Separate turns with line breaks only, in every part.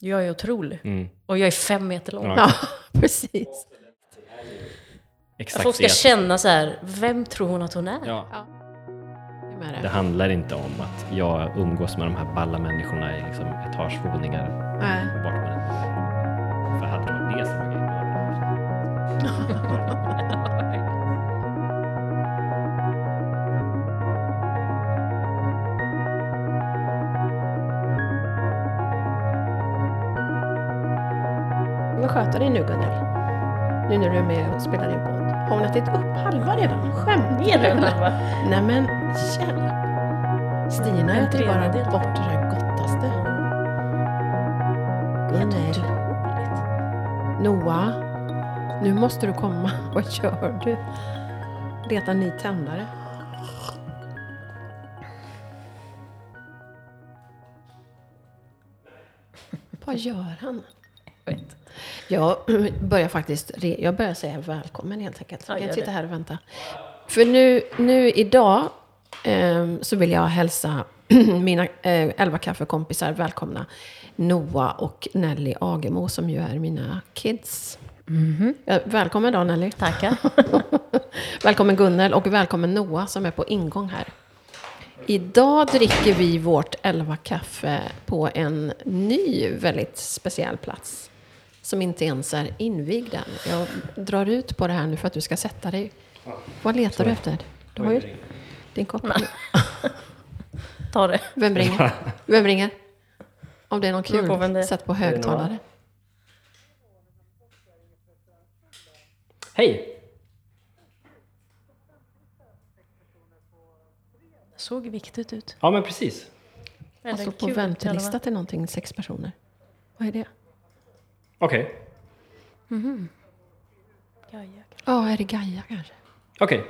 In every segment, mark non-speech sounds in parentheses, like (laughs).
Jag är otrolig.
Mm.
Och jag är fem meter lång.
Ja.
Ja. (laughs)
Okej.
Ja, precis.
Exakt
Folk ska
det.
känna så här, vem tror hon att hon är?
Ja.
Jag är med
Det
det.
handlar inte om att jag umgås med de här balla människorna i liksom etagevåningar.
Nej.
Bort med det. För hade det varit det som var grejen, då hade det varit-
Vad sköter dig nu Gunnel? Nu när du är med och spelar din podd. Har hon ätit upp halva redan? Skämtar du? Nej men hjälp! Stina
En
äter ju bara
tredjedel.
bort det där gottaste. Gunnel. Noah. Nu måste du komma. (laughs) Vad gör du? Leta ny tändare. Vad gör han? Jag (clears throat) börjar faktiskt re- jag börjar säga välkommen helt enkelt.
Ja,
Jag kan
gör
sitta
det.
här och vänta. För nu, nu idag ehm, så vill jag hälsa (clears throat) mina eh, elva kaffekompisar välkomna. Noah och Nelly Agemo som ju är mina kids.
Mm-hmm.
Ja, Välkommen då Nelly.
Tackar.
välkommen Gunnel och välkommen Noah som är på ingång här. Idag dricker vi vårt 11 kaffe på en ny väldigt speciell plats. Som inte ens är invigd än. Jag drar ut på det här nu för att du ska sätta dig. Vad letar du efter? Du har ju din kopp.
Ta det.
Vem ringer? Vem ringer? Om det är någon
beror på vem det är.
kul, sätt på högtalare.
Hej!
Såg viktigt ut.
Ja men precis.
Han står Alltså, på väntelista till någonting, sex personer. Vad är det?
Okej.
Ja, är det Gaia kanske?
Okej.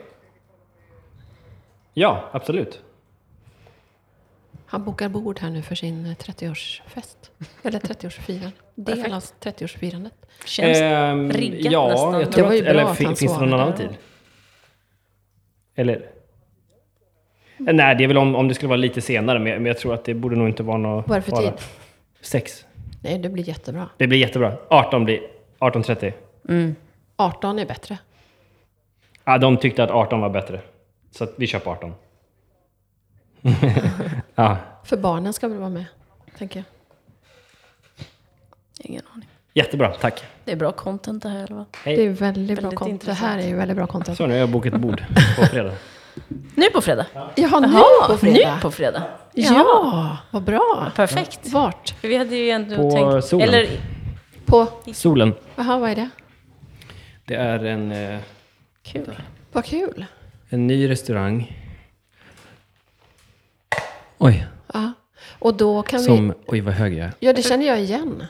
Ja, absolut.
Han bokar bord här nu för sin eh, (laughs) 30-årsfest. Eller 30-årsfirande. Del av 30-årsfirandet.
Känns
Ehm,
riggat
ja,
nästan.
Jag
Det
tror
var ju
att,
bra
eller
att
fin-
han
finns det någon
svarade.
annan tid? Eller? Nej, det är väl om, om det skulle vara lite senare, men jag, men jag tror att det borde nog inte vara något...
Vad är det för
fara.
tid?
Sex.
Nej, det blir jättebra.
Det blir jättebra. 18 blir... 18.30.
18 är bättre.
Ja, de tyckte att 18 var bättre. Så att vi kör på 18. (laughs) ja,
För barnen ska väl vara med, tänker jag.
Ingen aning.
jättebra, tack.
Det är bra content det här eller vad?
Hej.
Det är väldigt bra
Väldigt
content. Det här
intressant.
är ju väldigt bra content.
Så nu har jag bokat bord på fredag.
Nu på fredag. Ja,
Jaha, nu på fredag?
Nu på fredag.
Ja, vad bra!
Perfekt.
Vart?
För Vi hade ju ändå
På
tänkt...
solen.
Eller
På?
Solen.
Jaha, vad är det?
Det är en, eh,
kul.
Vad kul!
en ny restaurang. Oj,
Ja. Och då kan vi...
som... Oj, vad hög jag är.
Ja, det
Alltså-
känner jag igen.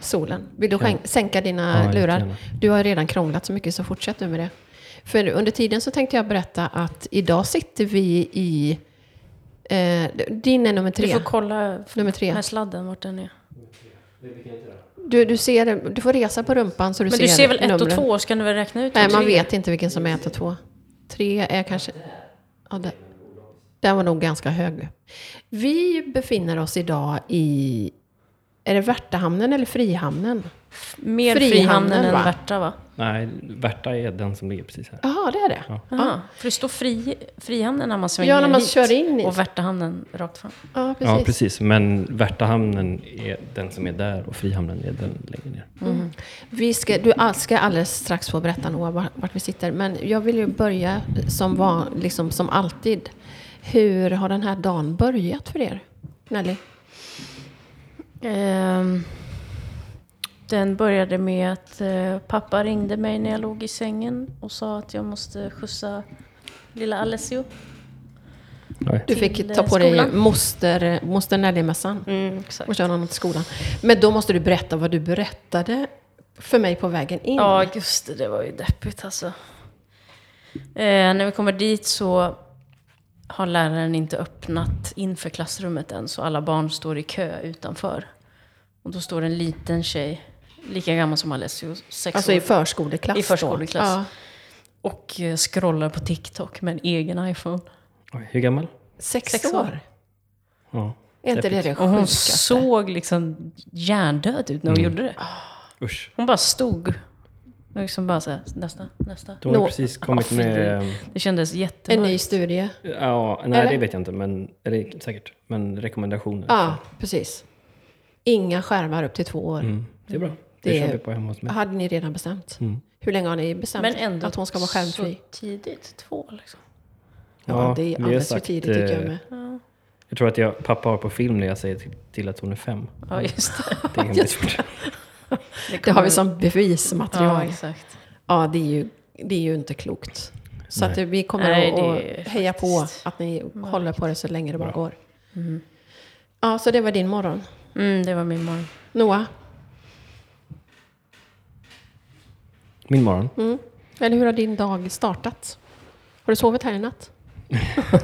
Solen. Vill du skänk- sänka dina
Ja,
lurar?
jättegärna.
Du har redan krånglat så mycket så fortsätt nu med det. För under tiden så tänkte jag berätta att idag sitter vi i... Eh, din är nummer
Du
tre.
får kolla
Nummer tre.
den här sladden vart den är.
Du, du, ser, du får resa på rumpan så du
Men
ser
du ser väl ett och
numren.
två, så kan du väl räkna ut?
Nej,
hur
man
tre är?
vet inte vilken som är ett och två. Tre är kanske... Ja, det, den var nog ganska hög. Vi befinner oss idag i... Är det Värtahamnen eller Frihamnen?
Mer
Frihamnen,
Frihamnen än
va?
Värta va?
Nej, Värta är den som ligger precis här.
Jaha, det är det. Ja,
Aha. För det står fri, Frihamnen när man svänger
Ja, när man
hit
kör in i-
och Värtahamnen rakt fram.
precis.
Ja, precis. Men Värtahamnen är den som är där och Frihamnen är den längre ner.
Mm. Vi ska, du all- ska alldeles strax få berätta Noah, var- vart vi sitter. Men jag vill ju börja som, var, liksom, som alltid. Hur har den här dagen börjat för er? Nelly?
Ehm, den började med att eh, pappa ringde mig när jag låg i sängen och sa att jag måste skjutsa lilla Alessio.
Oj.
Du
Till,
fick
eh,
ta på dig
skolan.
moster, moster Nelly-mössan.
Mm, exakt.
och köra honom till skolan. Men då måste du berätta vad du berättade för mig på vägen in.
Ja, just det. Det var ju deppigt alltså. Eh, när vi kommer dit så har läraren inte öppnat inför klassrummet än, så alla barn står i kö utanför. Och då står en liten tjej, lika gammal som Alessio, sex
alltså i
år,
förskoleklass.
I förskoleklass.
då. Ja.
och eh, scrollar på TikTok med en egen iPhone.
Oj, hur gammal?
Sex,
Sex
år.
år.
Ja.
Är inte det det
Och hon
sjukaste?
såg liksom hjärndöd ut när hon gjorde det.
Usch.
Hon bara stod. Och liksom bara såhär, nästa, nästa.
De har
Nå-
precis kommit
Åh,
med...
Det kändes
En ny
jättemörkt.
studie?
Ja, nej,
Eller?
det vet jag inte, men... Eller säkert. Men rekommendationer.
Ja, precis. Inga skärmar upp till två år.
Mm. Det är bra. Det,
Det är-
kör vi på hemma hos mig.
Hade ni redan bestämt?
Mm.
Hur länge har ni bestämt
Men ändå
att hon ska vara skärmfri?
så tidigt, två liksom.
Ja,
Ja,
det
vi
är
har
alldeles för
sagt,
tidigt tycker jag
eh,
med.
Ja,
Jag tror att jag, pappa har på film när jag säger till, till att hon är fem.
ja just (laughs) det.
Det
(laughs)
är hemligt.
Det har vi
kommer-
som
Ja,
bevismaterial. Ja,
exakt.
det, är ju, det är ju inte klokt. Så
Nej.
att vi kommer
Nej,
att,
det
att
är
heja på
faktiskt
att ni håller på det så länge det bara
Bra.
går. Ja, så det var din morgon.
Mm, det var min morgon.
Noah,
Min morgon?
Mm. eller hur har din dag startat? Har du sovit här i natt?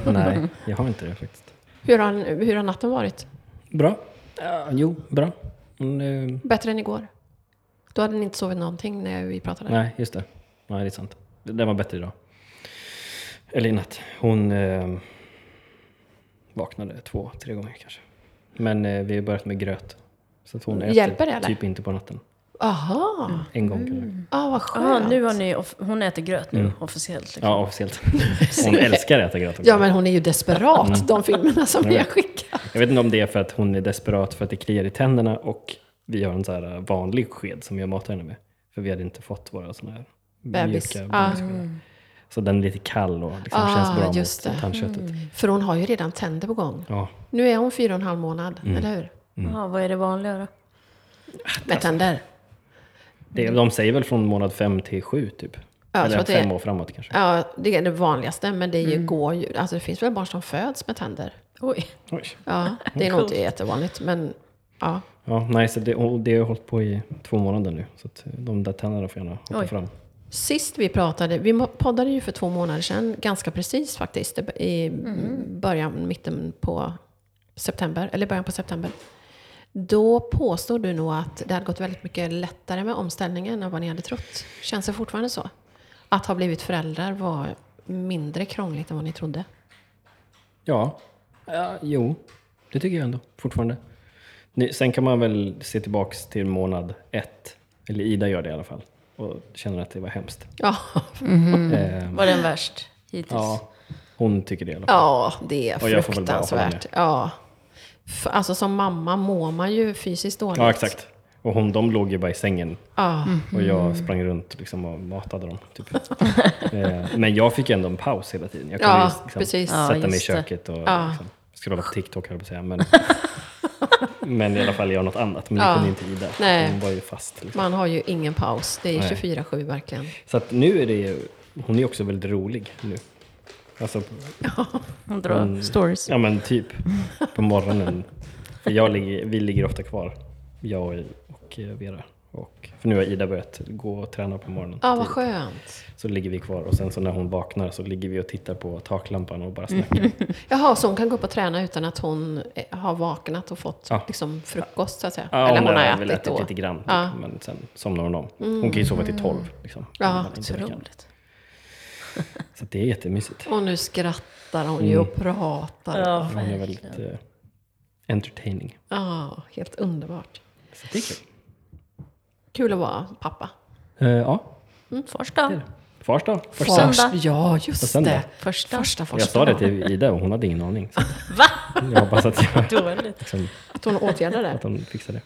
Nej, jag har inte det faktiskt.
Hur har, hur har natten varit?
Bra. Ja, jo, bra. Mm, eh,
Bättre än igår? Då hade ni inte sovit någonting när vi pratade.
nej, just det. Nej, det är sant. Det- Den var bättre idag. Eller i natt. Hon eh, vaknade två, tre gånger kanske. Men eh, vi har börjat med gröt. Så att hon äter
Hjälper det, eller?
typ inte på natten.
Aha!
En gång kanske.
Ah, vad
Ja,
skönt.
Mm. nu har ni, off- hon äter gröt nu officiellt. Liksom.
Mm. Ja, officiellt. (laughs) Hon älskar att äta gröt också.
Ja, men hon är ju desperat, de filmerna som vi har
vet.
skickat.
Jag vet inte om det är för att hon är desperat för att det kliar i tänderna och vi har en så här vanlig sked som jag matar henne med. För vi hade inte fått våra såna här
Bebis.
mjuka
Ah.
bebisskedar. Så den är lite kall och liksom
Ah,
känns bra
just det. Mm.
mot tandköttet.
För hon har ju redan tänder på gång.
Ja,
Nu är hon fyra och en halv månad, eller hur?
mm.
Alltså,
Ja, Ah, vad är det vanliga då?
Med tänder.
det, de säger väl från månad fem till sju typ.
Ja, jag tror
Eller
att det är-
fem år framåt kanske.
Ja, det är det vanligaste, men det är ju går ju... Alltså det finns väl barn som föds med tänder?
Oj.
Oj.
Ja, det är nog inte jättevanligt, men ja.
Ja, nej, så det, och det har jag hållit på i två månader nu. Så att eh, de där tänderna får gärna hoppa
Oj.
fram.
Sist vi pratade, vi mo- poddade ju för två månader sedan, ganska precis faktiskt, det- i Mhm. början, mitten på september, eller början på september. Då påstod du nog att det hade gått väldigt mycket lättare med omställningen än vad ni hade trott. Känns det fortfarande så? Att ha blivit föräldrar var mindre krångligt än vad ni trodde.
Ja. ja, jo, det tycker jag ändå fortfarande. Nu, sen kan man väl se tillbaks till månad ett, eller Ida gör det i alla fall, och känner att det var hemskt.
(laughs) Ja, Mm.
Ehm,
Var den värst hittills?
ja, hon tycker det i alla fall.
ja det är
Och jag får väl bara hålla
fruktansvärt. Ja. F- Alltså som mamma mår man ju fysiskt dåligt.
Ja, exakt. Och hon, de låg ju bara i sängen
Ja.
och
Mm.
jag sprang runt liksom och matade dem. Typ.
(laughs)
Ehm, Men jag fick ju ändå en paus hela tiden. Jag kunde
Ja,
ju liksom
precis. Ja,
sätta mig i
just det.
köket och
Ja.
liksom, scrolla på TikTok, höll jag på att säga. Men,
(laughs)
men i alla fall göra något annat. Men det
Ja.
kunde inte Ida.
Nej.
Hon var ju fast. Liksom.
Man har ju ingen paus. Det är
Nej.
24-7 verkligen.
Så att nu är det ju, hon är också väldigt rolig nu. Alltså,
Hon drar stories.
mm. ja men typ på morgonen. För jag ligger, vi ligger ofta kvar, jag och, och Vera. Och, för nu har Ida börjat gå och träna på morgonen.
Ja, vad
tidigt.
skönt.
Så ligger vi kvar och sen så när hon vaknar så ligger vi och tittar på taklampan och bara snackar.
Jaha, så hon kan gå upp och träna utan att hon eh, har vaknat och fått
Ja.
liksom, frukost så att säga?
Ja,
Eller hon har
väl
ätit, då?
lite grann, typ,
Ja. Mm.
men sen somnar hon om. Hon kan ju sova till tolv. Liksom,
Ja,
Om man inte orkar.
Otroligt.
Så att det är jättemysigt.
Och nu skrattar hon ju
Mm.
och pratar. Ja,
Ja,
Hon är
verkligen.
väldigt eh, entertaining.
helt underbart.
Så det är kul.
Kul att vara pappa. Mm.
Eh, ja,
Mm, Första.
Fars dag. Fars
Fars-
dag.
Söndag.
Ja, just
söndag.
det.
Första.
Första, första.
Jag sa det till Ida och hon hade ingen
(laughs)
aning. Så
Va?
jag hoppas att, jag,
Dåligt. (laughs)
liksom,
Att hon åtgärdar det.
att hon fixar det.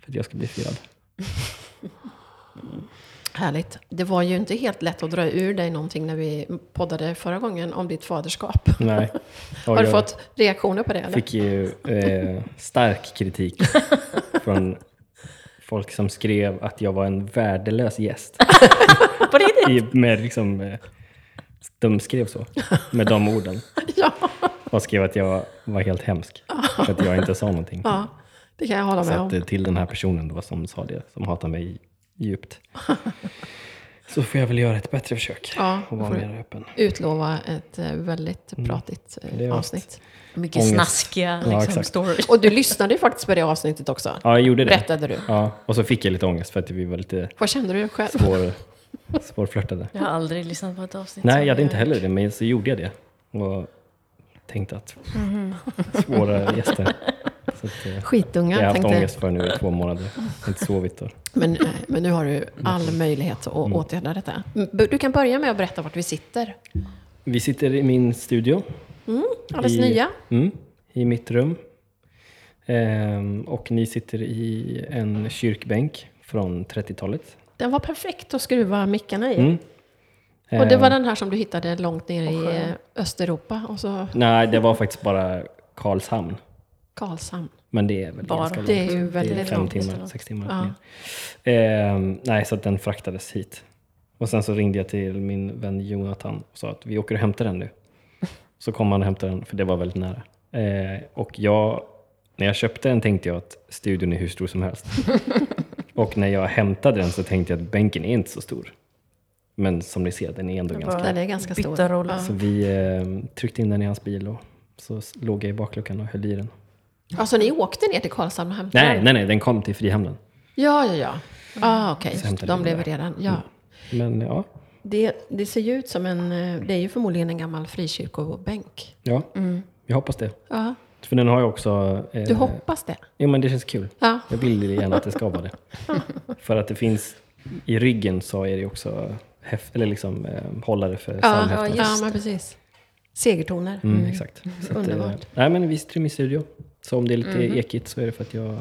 För att jag ska bli firad.
Härligt. Det var ju inte helt lätt att dra ur dig någonting när vi poddade förra gången om ditt faderskap.
Nej. Och
Har du
jag
fått reaktioner på det? Eller?
fick ju eh, stark kritik från folk som skrev att jag var en värdelös gäst.
På riktigt?
I, med liksom, eh, de skrev så, med de orden.
(laughs) Ja,
Och skrev att jag var helt hemsk, för att jag inte sa någonting.
ja, det kan jag hålla
Så
med
att,
om.
eh, till den här personen då som sa det, som hatar mig djupt. Så får jag väl göra ett bättre försök
Ja,
och vara
får-
mer öppen.
utlova ett eh, väldigt pratigt eh,
Mm. Det är
avsnitt.
Mycket
Ångest.
snaskiga
Ja,
liksom,
exakt.
stories.
Och du lyssnade ju faktiskt på det avsnittet också.
Ja, jag gjorde det.
Berättade du.
Ja, och så fick jag lite ångest för att vi var
(laughs)
lite
Vad kände du själv?
svår, svårflörtade.
Jag har aldrig lyssnat på ett avsnitt.
Nej, jag hade inte heller det, men så gjorde jag det. Och tänkte att
Mm-hmm. (laughs)
svåra gäster. Så att, eh,
Skitunga,
jag har haft
tänkte jag.
ångest för nu i två månader. Jag har inte sovit. Och,
Men, eh, men nu har du all
Mm.
möjlighet att åtgärda detta. M- Du kan börja med att berätta vart vi sitter.
vi sitter i min studio.
Alldeles
I-
nya.
Mm, I mitt rum. Ehm, och ni sitter i en kyrkbänk från 30-talet.
Den var perfekt att skruva mickarna i.
Mm.
Och det
Ehm,
var den här som du hittade långt nere i
Och sjön.
eh, Östeuropa och så
Nej, det var faktiskt bara Karlshamn.
Karlshamn.
Men det är väl
Bara.
ganska långt.
Det är ju
det är
väldigt
fem
långt.
timmar, sex timmar.
Ja.
ner. Ehm, nej, så att den fraktades hit. Och sen så ringde jag till min vän Jonathan och sa att vi åker och hämtar den nu. Så kom han och hämtade den, för det var väldigt nära. Eh, och jag, när jag köpte den tänkte jag att studion är hur stor som
(laughs)
helst. och när jag hämtade den så tänkte jag att bänken är inte så stor. Men som ni ser, den är ändå
Det
ganska
var-
Den är ganska stor.
Bytta roller.
Ja.
Så vi eh, tryckte in den i hans bil och så s- låg jag i bakluckan och höll i den.
Alltså ni åkte ner till Karlshamn och hämtade
Nej,
den?
nej, nej, den kom till Frihamnen.
Ja, ja, ja. Ah, Okej,
Så hämtade
de
vi
blev
den där. Mm.
redan... Ja.
Men ja,
Det, det ser ju ut som en... eh, Det är ju förmodligen en gammal frikyrkobänk.
ja jag hoppas det.
Ja,
För den har jag också... Eh,
Mm. du hoppas det?
Jo, men det känns kul.
Ja.
Jag vill gärna att det ska
(laughs)
vara det. för att det finns... I ryggen så är det också hef, eller liksom, eh, hållare för
Ja, ja,
psalmhäften.
men precis. Segertoner.
Mm, Exakt. Så att, eh,
Underbart. Mm-hmm.
nej, men vi sitter i min studio. Så om det är lite ekigt så är det för att jag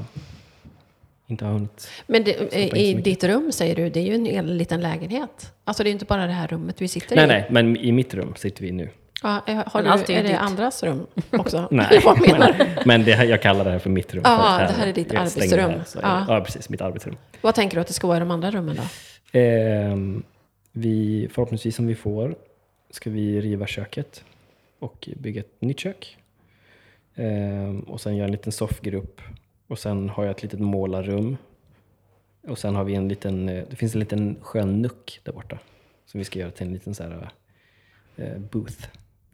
inte har hunnit.
Men det,
inte så
i
mycket.
ditt rum säger du, det är ju en hel liten lägenhet. Alltså det är ju inte bara det här rummet vi sitter
Nej,
i.
nej, men i mitt rum sitter vi nu.
Ja, eh, har
Men
du,
allt är ju
är det
ditt.
andras rum (laughs) också?
Nej,
Vad menar du?
men, men det här, jag kallar det här för mitt rum.
Ja,
för att
det här är ditt
jag stänger det
arbetsrum. Ah.
så
Ja.
ja, precis. Mitt arbetsrum.
Vad tänker du att det ska vara i de andra rummen då?
Ehm, vi, förhoppningsvis om vi får ska vi riva köket och bygga ett nytt kök. Ehm, och sen göra en liten soffgrupp. Och sen har jag ett litet målarrum. Och sen har vi en liten, eh, det finns en liten skön nuck där borta. Som vi ska göra till en liten så här, eh, booth.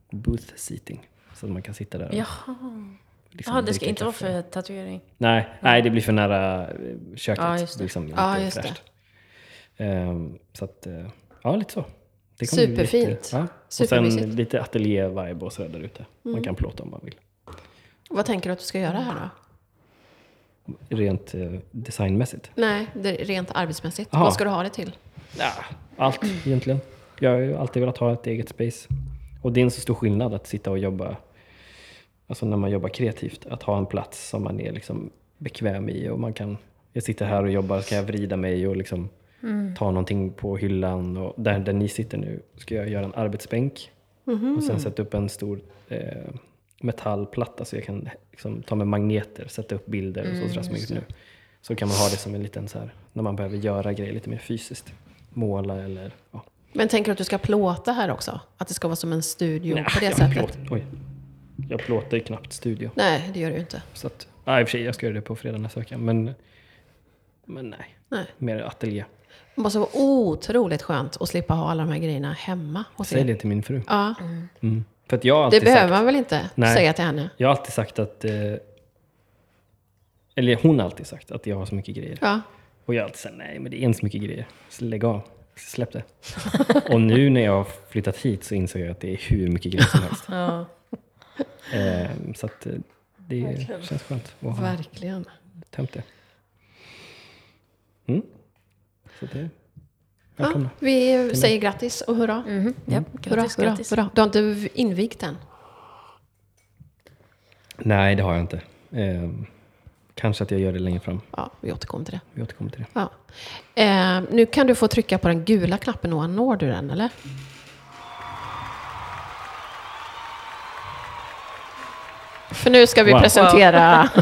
Booth seating. Så att man kan sitta där och
Jaha.
liksom
Jaha, det ska
dricka
inte vara
kaffe.
för tatuering.
Nej, nej, det blir för nära eh, köket.
Ja,
Ja,
just
just
det.
det. Liksom,
Ja,
inte
just det.
fräscht. Ehm, så att, eh, ja lite så. Det kommer bli
Superfint.
Lite, ja. Och sen
Supermysigt.
lite ateljé-vibe och sådär där ute. Man kan plåta om man vill.
Vad tänker du att du ska göra här då?
Rent eh, designmässigt.
Nej, det är rent arbetsmässigt.
Jaha.
Vad ska du ha det till?
Ja, allt egentligen. Jag har ju alltid velat ha ett eget space. Och det är en så stor skillnad att sitta och jobba, alltså när man jobbar kreativt, att ha en plats som man är liksom bekväm i och man kan, jag sitter här och jobbar, ska jag vrida mig och liksom
Mm.
ta någonting på hyllan och där, där ni sitter nu ska jag göra en arbetsbänk
Mhm.
och sen sätta upp en stor eh, metallplatta så jag kan liksom, ta med magneter, sätta upp bilder och så,
Mm,
sådär som jag gjort nu. Så kan man ha det som en liten så här, när man behöver göra grejer lite mer fysiskt. Måla eller ja.
Men tänker du att du ska plåta här också? Att det ska vara som en studio på det
jag
sättet?
Plåt, oj. Jag plåtar ju knappt studio.
Nej, det gör du ju inte.
Så att, nej, i och för sig, jag ska göra det på fredag nästa vecka. Men, men nej,
Nej.
mer ateljé.
Det måste vara otroligt skönt att slippa ha alla de här grejerna hemma hos
Säg
er.
det till min fru.
Ja,
Mm. För att jag har
det
alltid
behöver
sagt,
man väl inte
Nej.
säga till henne?
Jag har alltid sagt att... Eh, eller hon har alltid sagt att jag har så mycket grejer.
Ja.
Och jag har alltid sagt nej, men det är inte så mycket grejer. Så Lägg av. Släpp
(laughs)
det. och nu när jag har flyttat hit så insåg jag att det är hur mycket grejer som
(laughs)
helst.
Ja.
Ehm, så att eh, det känns skönt att ha
Verkligen.
tömt det. Mm. Så det...
Ja,
Välkomna.
vi säger grattis och hurra.
Mhm. Ja,
Hurra,
grattis,
hurra,
grattis.
hurra. Du har inte invigt än?
Nej, det har jag inte. Ehm, kanske att jag gör det längre fram.
Ja, vi återkommer till det.
Vi återkommer till det.
Ja. Eh, nu kan du få trycka på den gula knappen, Noah. Når du den, eller? För nu ska vi
Wow.
presentera... (laughs)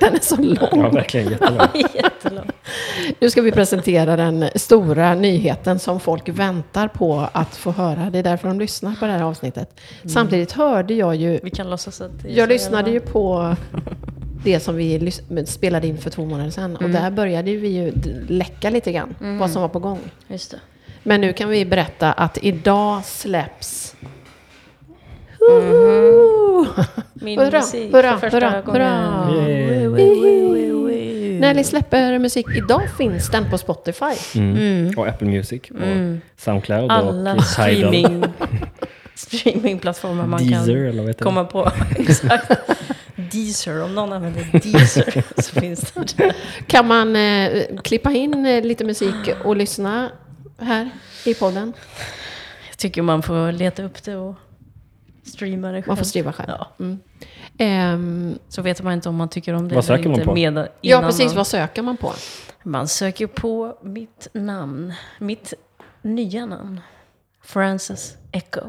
den är så lång.
Ja, verkligen jättebra.
(laughs)
(laughs)
Jättelångt.
Nu ska vi presentera den stora nyheten som folk väntar på att få höra. Det är därför de lyssnar på det här avsnittet.
Mm.
Samtidigt hörde jag ju...
Vi kan låtsas att det är så
Jag lyssnade
jävla-
ju
(laughs)
på det som vi lys- spelade in för två månader
Mm.
sedan. Och där började vi ju d- läcka lite grann vad som var på gång.
Just det.
Men nu kan vi berätta att idag släpps...
Min
Hurra,
musik
hurra,
för första
hurra,
gången.
hurra.
Yay.
När ni släpper musik, idag finns den på Spotify.
Mm. Och Apple Music och Soundcloud
Mm. Alla
och Tidal.
streaming (laughs) streamingplattformar man
Deezer
kan
eller vad heter
komma på. (laughs) Exakt. Deezer, om någon använder Deezer (laughs) så finns det. där.
Kan man eh, klippa in eh, lite musik och lyssna här i podden?
Jag tycker man får leta upp det och streama det själv.
Man får skriva själv.
Ja.
Mm. Ehm,
Så vet man inte om man tycker om det
Vad söker
eller
man
inte.
på?
Medan,
ja,
innan
precis.
Man,
Vad söker man på?
man söker på mitt namn. Mitt nya namn. Frances Echo.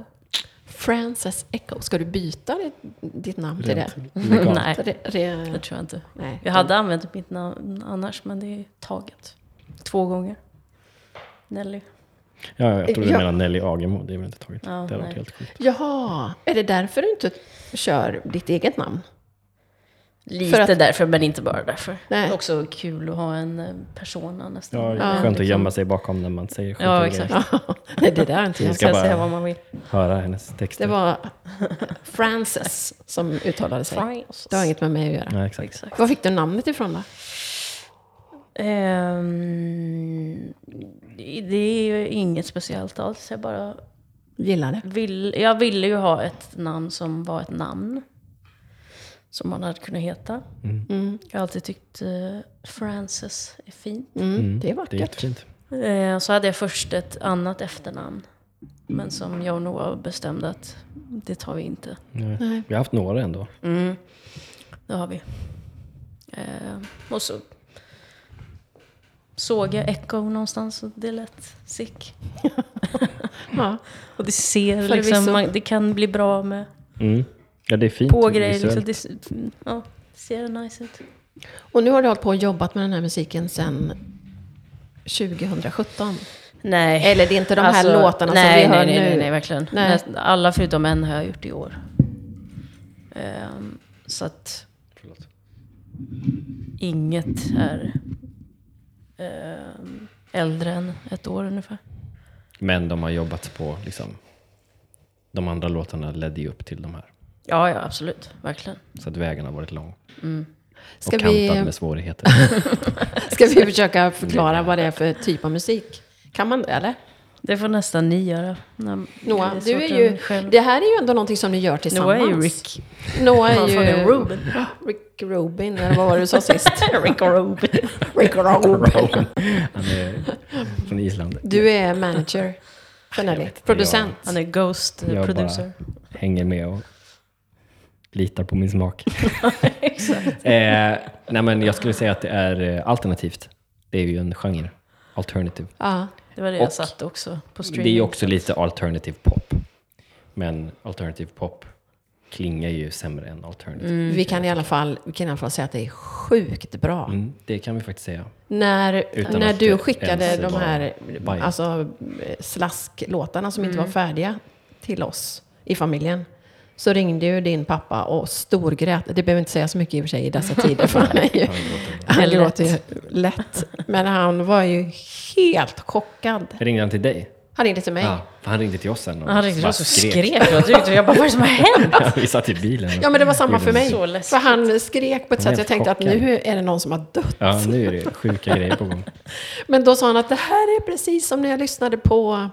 Frances Echo. Ska du byta ditt, ditt namn till det?
(laughs)
Nej.
Nej,
Re, re,
det tror jag inte.
nej.
Jag hade använt mitt namn annars, men det är taget. Två gånger. Nelly.
Ja, ja, jag trodde du
Ja.
menade Nelly Agemo. Det är väl inte taget.
Ja,
det hade
nej.
varit helt sjukt.
Jaha, är det därför du inte kör ditt eget namn?
Lite
För att-
därför, men inte bara därför.
Nej.
Också kul att ha en eh, persona nästan.
Ja,
Men,
skönt att
liksom,
gömma sig bakom när man säger skönt
Ja,
att
exakt.
Nej, det där är inte
Vi
jag.
ska
Sen
bara-
säga vad man vill.
höra hennes texter.
Det var Frances som uttalade sig.
Frances.
Det har inget med mig att göra.
Nej, exakt.
Exakt.
Var fick du namnet ifrån då?
Ehm, det är ju inget speciellt alls. Jag bara
Gillar det.
vill, jag ville ju ha ett namn som var ett namn. Som man hade kunnat heta. Jag har alltid tyckt eh, Frances är fint.
Mm, det är
Det är
vackert.
jättefint.
Eh, så hade jag först ett annat efternamn. Men som jag och Noah bestämde att det tar vi inte.
Ja.
Nej.
Vi har haft några ändå.
Mm. Det har vi. Eh, och så såg jag Echo någonstans och det lät sick.
Ja.
Och det ser
Förvisso.
liksom, man, det kan bli bra med
Mm. Ja, det är fint.
på grejer. Liksom,
visuellt.
det, s- ja, det ser nice ut.
Och nu har du hållit på och jobbat med den här musiken sedan 2017.
Nej. Alltså,
Eller det är inte de här låtarna
Eh, nej,
som vi
nej,
hör
nej,
nu.
Nej, nej, verkligen.
Nej.
Näst, alla förutom en har jag gjort i år. Ehm, så att liksom.
Förlåt.
inget är ehm, äldre än ett år ungefär.
Men de har jobbat på liksom. De andra låtarna ledde ju upp till de här.
Ja, ja, absolut. Verkligen.
Så att vägen har varit lång.
Mm. Ska
och kantad
vi, eh,
med svårigheter.
(laughs) ska vi försöka förklara vad det är för typ av musik? Kan man det eller?
Det får nästan ni göra. När-
Noah,
det
du
svårt
är
att
ju,
själv.
det här är ju ändå någonting som ni gör tillsammans.
Noah är ju Rick.
Noah är
Han från
ju (laughs)
Ruben.
Rick Rubin, eller vad var det du sa sist?
(laughs) Rick Rubin.
Rick Rubin.
Han är från Island.
Du är manager för Nelly,
inte,
producent.
Han är Ghost eh,
Jag
producer.
bara hänger med och litar på min
(laughs)
smak. eh, nej men jag skulle säga att det är eh, alternativt. Det är ju en genre. Alternative.
Ja.
Det var det jag
Och-
satte också på
Det är
streaming.
ju också lite alternative pop. Men alternative pop klingar ju sämre än alternative.
Vi, kan i alla fall, vi kan i alla fall säga att det är sjukt bra.
Mm, det kan vi faktiskt säga.
När,
Utan
när
att
du
det
skickade
ens
de
var
här
bajs.
alltså, slasklåtarna som inte
Mm.
var färdiga till oss i familjen så ringde ju din pappa och storgrät. Det behöver inte säga så mycket i och för sig
(laughs)
i dessa tider för han är ju, han
Det är
gråter ju lätt. Men han var ju helt chockad.
Ringde han till dig?
Han ringde till mig.
Ja, för han ringde till oss sen och
Han ringde
bara
oss och skrek. Jag tyckte- Jag bara, vad är det som har hänt?
(laughs) Ja, vi satt i bilen.
Ja, men det var samma för mig.
Så läskigt.
För han skrek på ett
Han är
sätt jag
helt
tänkte att
chockad.
nu är det någon som har dött.
Ja, nu är det sjuka grejer på gång.
Men då sa han att det här är precis som när jag lyssnade på...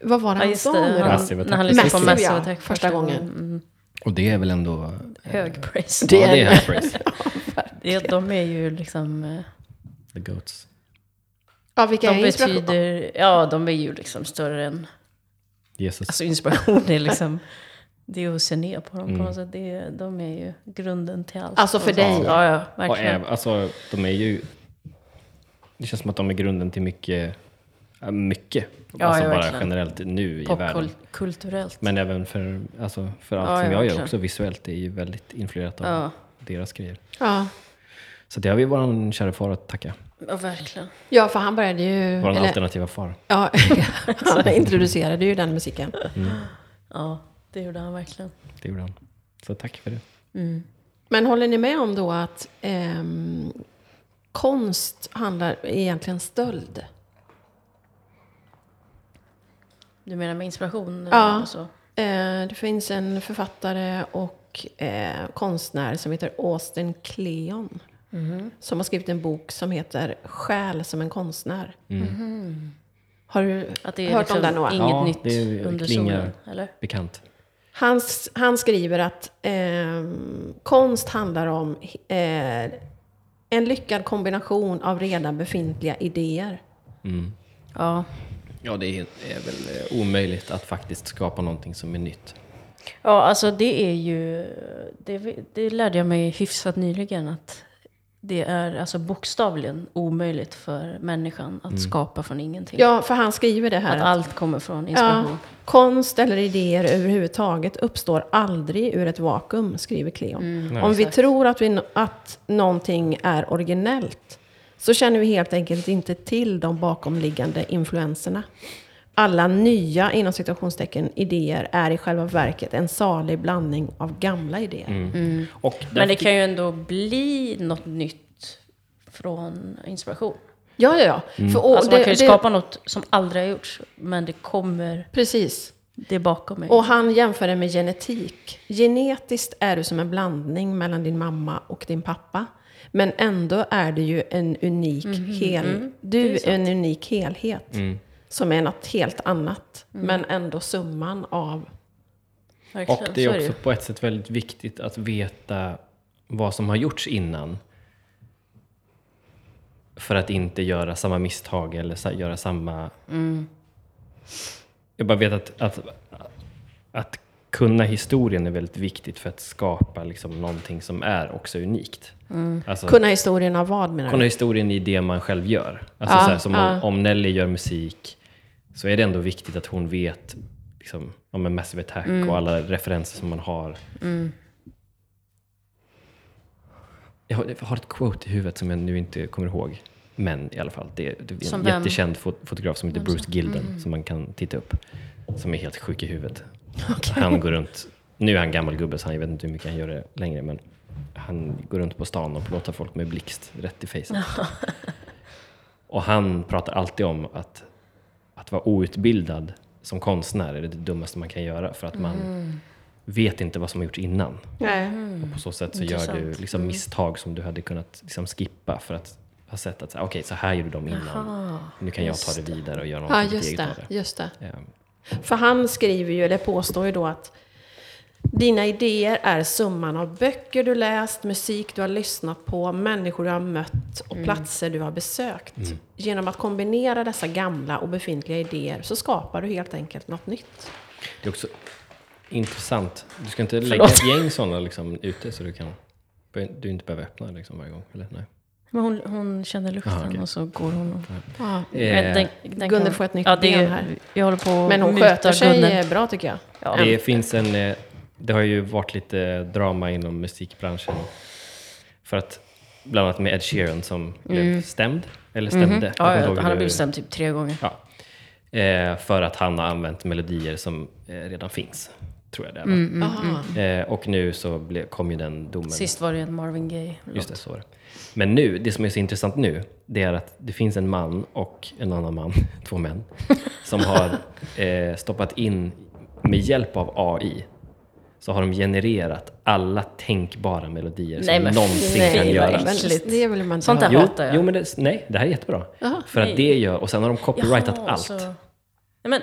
Vad var det
Ja,
han
just det.
sa nu
Han,
då?
Massive
när han
Attack.
lyssnade på
Massive,
Massive
ja.
Attack
Första gången.
Mm.
Och det är väl ändå...
Hög praise.
Det ja, det är praise.
Det, de är ju liksom... eh,
The Goats.
Ja, vilka
De
är inspiration?
betyder... Ja, de är ju liksom större än...
Jesus.
Alltså inspiration är liksom... Det är att se ner på dem
Mm.
på något sätt. Det, är- de är ju grunden till allt.
Alltså för dig.
Ja, ja,
Och
verkligen.
även, alltså, de är ju... Det känns som att de är grunden till mycket. äh, Mycket.
Ja,
alltså
ja,
bara
verkligen.
generellt nu i världen.
Popkulturellt.
Men även för, alltså, för allt
Ja,
som
ja,
jag gör
verkligen.
också visuellt. Det är ju väldigt influerat av
Ja.
deras grejer.
Ja.
Så det har vi våran kära far att tacka.
Ja, verkligen.
ja, för han började ju...
Våran
eller-
alternativa far.
ja, (laughs) han introducerade ju den musiken.
Ja, det gjorde han verkligen.
Det gjorde han. Så tack för det.
Men håller ni med om då att ehm, konst handlar egentligen stöld?
Du menar med inspiration? eh,
Ja.
Och så?
Eh, det finns en författare och eh, konstnär som heter Austin Kleon.
Mm-hmm.
Som har skrivit en bok som heter Själ som en konstnär. Mm-hmm. Har du
Att det är
hört om
liksom
den Noah?
inget
Ja,
nytt
det är-
under
klingar.
solen, eller?
Bekant.
Han, s- han skriver att ehm, konst handlar om eh, en lyckad kombination av redan befintliga idéer.
Ja.
Ja, det är, är väl eh, omöjligt att faktiskt skapa någonting som är nytt.
Ja, alltså det är ju... Det, det lärde jag mig hyfsat nyligen att det är alltså bokstavligen omöjligt för människan
Mm.
att skapa från ingenting.
Ja, för han skriver det här.
Att
att-
allt kommer från
Ja,
inspiration.
konst eller idéer överhuvudtaget uppstår aldrig ur ett vakuum, skriver Cleon. Om vi tror att, vi, att någonting är originellt så känner vi helt enkelt inte till de bakomliggande influenserna. Alla nya, inom citationstecken, idéer är i själva verket en salig blandning av gamla idéer.
Och
Mm.
därför
Men det kan ju ändå bli något nytt från inspiration.
Ja, ja, ja. För, och,
Alltså man
det-
kan ju
det-
skapa något som aldrig har gjorts, men det kommer,
Precis.
det är bakom mig.
Och han jämför det med genetik. Genetiskt är du som en blandning mellan din mamma och din pappa. Men ändå är du ju en unik, hel, du mhm. Mm, är en unik helhet.
Mm.
Som är något helt annat. Men ändå summan av...
Verkligen,
Och det
så
är
det ju.
också på ett sätt väldigt viktigt att veta vad som har gjorts innan. För att inte göra samma misstag eller sa- göra samma...
Mm.
Jag bara vet att, att, att kunna historien är väldigt viktigt för att skapa liksom någonting som är också unikt.
Mm.
Alltså,
Kunna historien av vad menar
kunna
du?
historien i det man själv gör. Alltså
Ja,
så här, som
ja.
om, om Nelly gör musik så är det ändå viktigt att hon vet liksom, om en Massive Attack
Mm.
och alla referenser som man har. Jag har, jag har ett quote i huvudet som jag nu inte kommer ihåg. Men i alla fall, det, det är en
Som vem? Mm.
jättekänd fot- fotograf som heter Bruce Gilden som man kan titta upp. Som är helt sjuk i huvudet. Han går runt, nu är han gammal gubbe så han, jag vet inte hur mycket han gör det längre, men han går runt på stan och plåtar folk med blixt rätt i facet. och han pratar alltid om att, att vara outbildad som konstnär är det dummaste man kan göra för att
Mm.
man vet inte vad som har gjorts innan.
Nej.
Och på så sätt så gör du
Intressant. Mm.
liksom misstag som du hade kunnat liksom skippa för att ha sett att så här, okej, så här gjorde de innan.
Ah.
nu kan jag ta det vidare och göra
Ja,
någonting
just
eget
det,
av det.
just det.
Ehm,
För han skriver ju, eller påstår ju då att dina idéer är summan av böcker du läst, musik du har lyssnat på, människor du har mött och platser du har besökt. Genom att kombinera dessa gamla och befintliga idéer så skapar du helt enkelt något nytt.
Det är också intressant. Du ska inte lägga ett gäng sådana liksom ute så du kan... Du inte behöver öppna liksom varje gång, eller? Nej.
Men hon, hon känner lukten
Ah, okej.
och så går hon och...
Eh,
Men den, den
Gunnel
kan-
får ett nytt
ja, det,
ben här.
Jag håller på att
Men hon
muta
sköter sig eh,
Gunnel.
bra tycker jag.
Ja.
Det finns en... eh, Det har ju varit lite drama inom musikbranschen. För att, bland annat med Ed Sheeran som blev stämd. Eller stämde. Jag
Mm. Mhm. Ja, ja,
kommer inte ihåg eh,
han har
hur-
blivit stämd typ tre gånger.
Ja. Eh, för att han har använt melodier som eh, redan finns. Tror jag det är. va?
Aha.
Eh, och nu så ble, kom ju den domen.
Mm, Sist var det en Marvin Gaye-låt.
Just det, så var det. Men nu, det som är så intressant nu, det är att det finns en man och en annan man, (laughs) två män,
(laughs)
som har eh, stoppat in, med hjälp av AI, så har de genererat alla tänkbara melodier
Nej,
som
men
någonsin
nej,
kan
vad
göras.
äckligt.
Men det vill man inte
Sånt
ha.
där
Jo,
hatar jag.
jo, men det, nej, det här är jättebra. för att det gör, och sen har de copyrightat
Jaha,
allt.
så- Nej, men,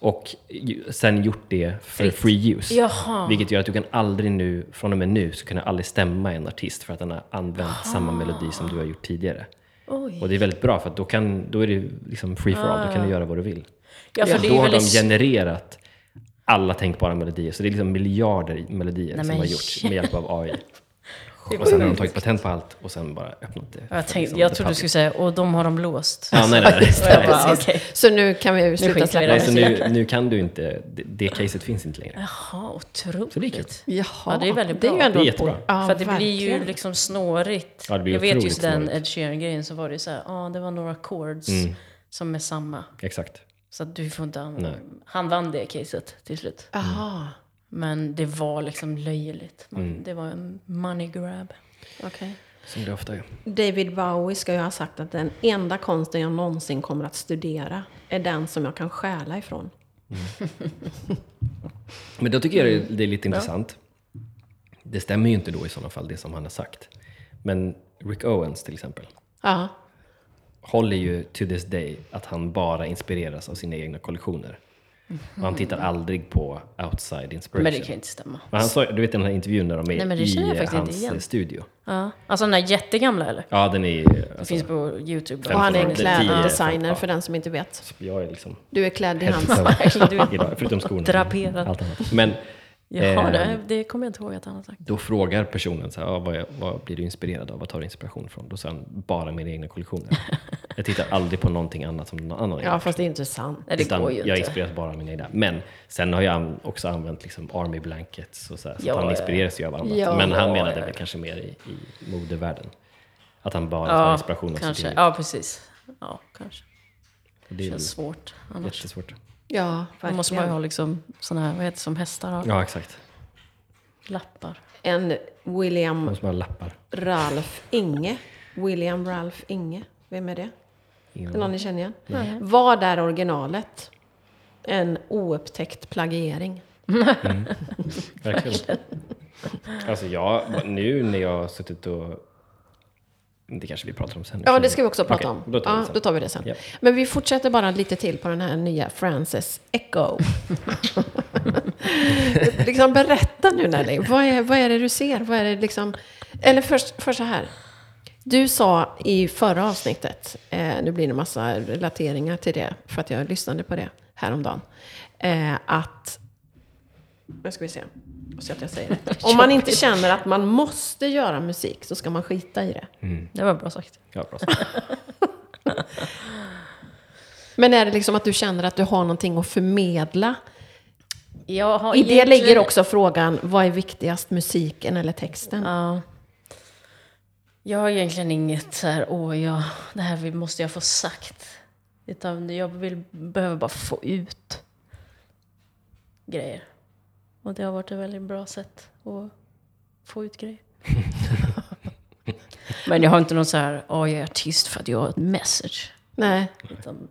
och ju- sen gjort det för
Fritt.
free use.
Jaha.
Vilket gör att du kan aldrig nu, från och med nu, så kan du aldrig stämma en artist för att den har använt samma melodi som du har gjort tidigare.
oj.
Och det är väldigt bra för att då, kan, då är det liksom free for all, då kan du göra vad du vill.
Ah. Ja, för det är
då
ju
har de
väldigt...
genererat alla tänkbara melodier, så det är liksom miljarder melodier
Nej,
som
men
har gjorts
shit.
med hjälp
(laughs)
av AI. Och sen har de tagit patent på allt och sen bara öppnat det.
jag,
för
tänkte,
liksom
jag
the
trodde du
public.
skulle säga, och de har de låst.
Ja, nej, nej, nej.
(laughs) Jag bara, okej.
Så nu kan vi
skiter
sluta
vi i
släppa
det.
nej
det.
så
(laughs)
nu, nu kan du inte, det, det caset finns inte längre.
Jaha, otroligt.
Så det är kul.
Jaha,
Ja, det är väldigt
ju
bra.
Det
ändå
är
ett
jättebra.
år. Ja,
för att det blir ju
verkligen.
liksom snårigt.
Ja, det blir
jag vet
otroligt
just den
snårigt. Mm.
Ed Sheeran-grejen så var det ju så här, ja ah, det var några chords som är samma.
Exakt.
Så att du får inte använda.
Nej.
Han vann det caset till slut.
Jaha,
Men det var liksom löjligt. Man,
Mm.
Det var en money grab.
okej.
Som det ofta är.
David Bowie ska ju ha sagt att den enda konsten jag någonsin kommer att studera är den som jag kan stjäla ifrån.
Men då tycker jag det- det är lite intressant. Det stämmer ju inte då i sådana fall, det som han har sagt. Men Rick Owens till exempel,
Ja.
håller ju to this day att han bara inspireras av sina egna kollektioner. Och han tittar aldrig på outside inspiration.
Men det kan ju inte stämma.
Men han sa, du vet den här intervjun när de är
Nej, men det känner jag
i
faktiskt inte
hans
igen.
studio?
Ja. Alltså den där jättegamla eller?
Ja, den är alltså,
Det finns på YouTube.
Och han är
(laughs)
en
15, kläd- 10,
kläddesigner
15,
för den som inte vet.
Jag är liksom
Du är klädd i hans.
hälften (laughs) idag, förutom skorna.
Draperad.
Allt annat. Men
Jaha,
eh,
det, det kommer jag inte ihåg att han har sagt.
då frågar personen så här, ah, vad, är- vad blir du inspirerad av? Vad tar du inspiration från? Då sa han, bara mina
(laughs)
egna kollektioner. jag tittar aldrig på någonting annat som någon annan
Ja, fast det är inte sant.
Nej, det
Utan
går ju
jag
inte.
inspireras bara av mina egna. Men sen har jag an- också använt liksom army blankets och så, här, så
Ja,
att han
ja,
inspireras ju av annat.
Ja,
Men han
ja,
menade
ja.
väl kanske mer i, i modevärlden. Att han bara tar
Ja,
inspiration av sitt
kanske.
eget.
Ja, precis. Ja, kanske.
Och
Det
Det är
känns
ju
svårt annars.
jättesvårt.
Ja,
Då måste man ju ha
verkligen.
liksom såna här, vad heter det, som hästar har?
Ja, exakt.
Lappar.
En William
De som har lappar.
Ralf Inge. William Ralf Inge. Vem är det?
Ingen
Är det någon ni känner igen? Vad är originalet? En oupptäckt plagiering.
Verkligen. Alltså jag, nu när jag har suttit och... Det kanske vi pratar om sen.
Ja, det ska vi också prata
Okej,
om.
Då tar vi
ja,
det sen.
då tar vi det sen.
Ja.
Men vi fortsätter bara lite till på den här nya Frances Echo.
(laughs)
liksom berätta nu Nelly, vad är, vad är det du ser? Vad är det liksom... Eller först, först så här. Du sa i förra avsnittet, eh, nu blir det massa relateringar till det, för att jag lyssnade på det häromdagen, eh, att... Nu ska vi se, så att jag säger
(laughs)
rätt. Om man inte känner att man måste göra musik så ska man skita i det.
Det var bra sagt.
Ja, bra.
Men är det liksom att du känner att du har någonting att förmedla?
Jag har
I det
egentligen-
ligger också frågan, vad är viktigast, musiken eller texten?
Ja. Jag har egentligen inget så här, åh, jag, det här vill- måste jag få sagt. Utan jag vill, behöver bara få ut grejer. Och det har varit ett väldigt bra sätt att få ut (laughs) grejer. Men jag har inte någon så här, åh, jag är artist för att jag har ett message.
Nej,
Utan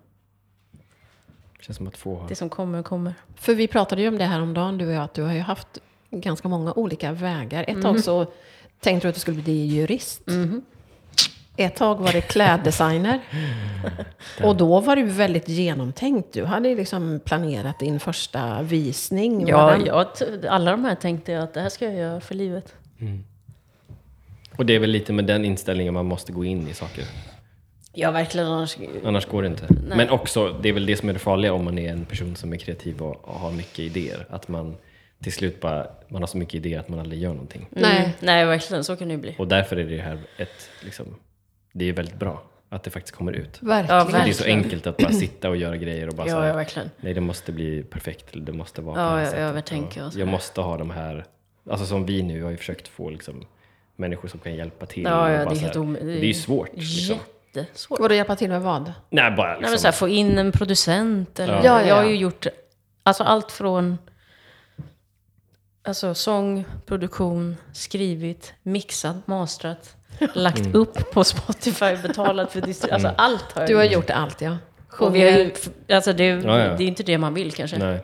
Känns som att få har...
det som kommer, kommer.
för vi pratade ju om det här om dagen, du och jag, att du har ju haft ganska många olika vägar. Ett
Mhm.
tag så tänkte du att du skulle bli jurist. Ett tag var det
(laughs)
kläddesigner. och då var du väldigt genomtänkt. Du hade ju liksom planerat din första visning. var
Ja,
den-
jag, t- alla de här tänkte jag att det här ska jag göra för livet.
Och det är väl lite med den inställningen man måste gå in i saker.
Ja, verkligen. Annars,
Annars går det inte. Men också, det är väl det som är det farliga om man är en person som är kreativ och, och har mycket idéer. Att man till slut bara, man har så mycket idéer att man aldrig gör någonting.
Mm.
nej. Mm. nej, verkligen. Så kan det ju bli.
Och därför är det här ett, liksom, det är väldigt bra att det faktiskt kommer ut.
Ja,
Verkligen.
För det är så
verkligen.
enkelt att bara sitta och göra grejer och bara så
Ja,
här,
ja, verkligen.
Nej, det måste bli perfekt. Eller det måste vara
Ja,
på det här
jag
sättet.
övertänker och så.
Jag måste ha de här, alltså som vi nu har ju försökt få liksom, människor som kan hjälpa till.
Ja,
och
ja,
bara
det är
så
helt
här,
omö-
Det är ju svårt. Liksom.
Jättesvårt.
Vadå hjälpa till med vad?
Nej, bara liksom.
Nej, men så här, få in en producent eller...
Ja.
Ja, ja,
Jag har
ja.
ju gjort alltså, allt från alltså, sång, produktion, skrivit, mixat, mastrat, lagt
Mm.
upp på Spotify, betalat för distribution. Alltså allt har jag
Du har
gjort.
gjort allt ja.
Och vi har, ju- alltså, det, är-
Ja, ja.
det är inte det man vill kanske.
Nej.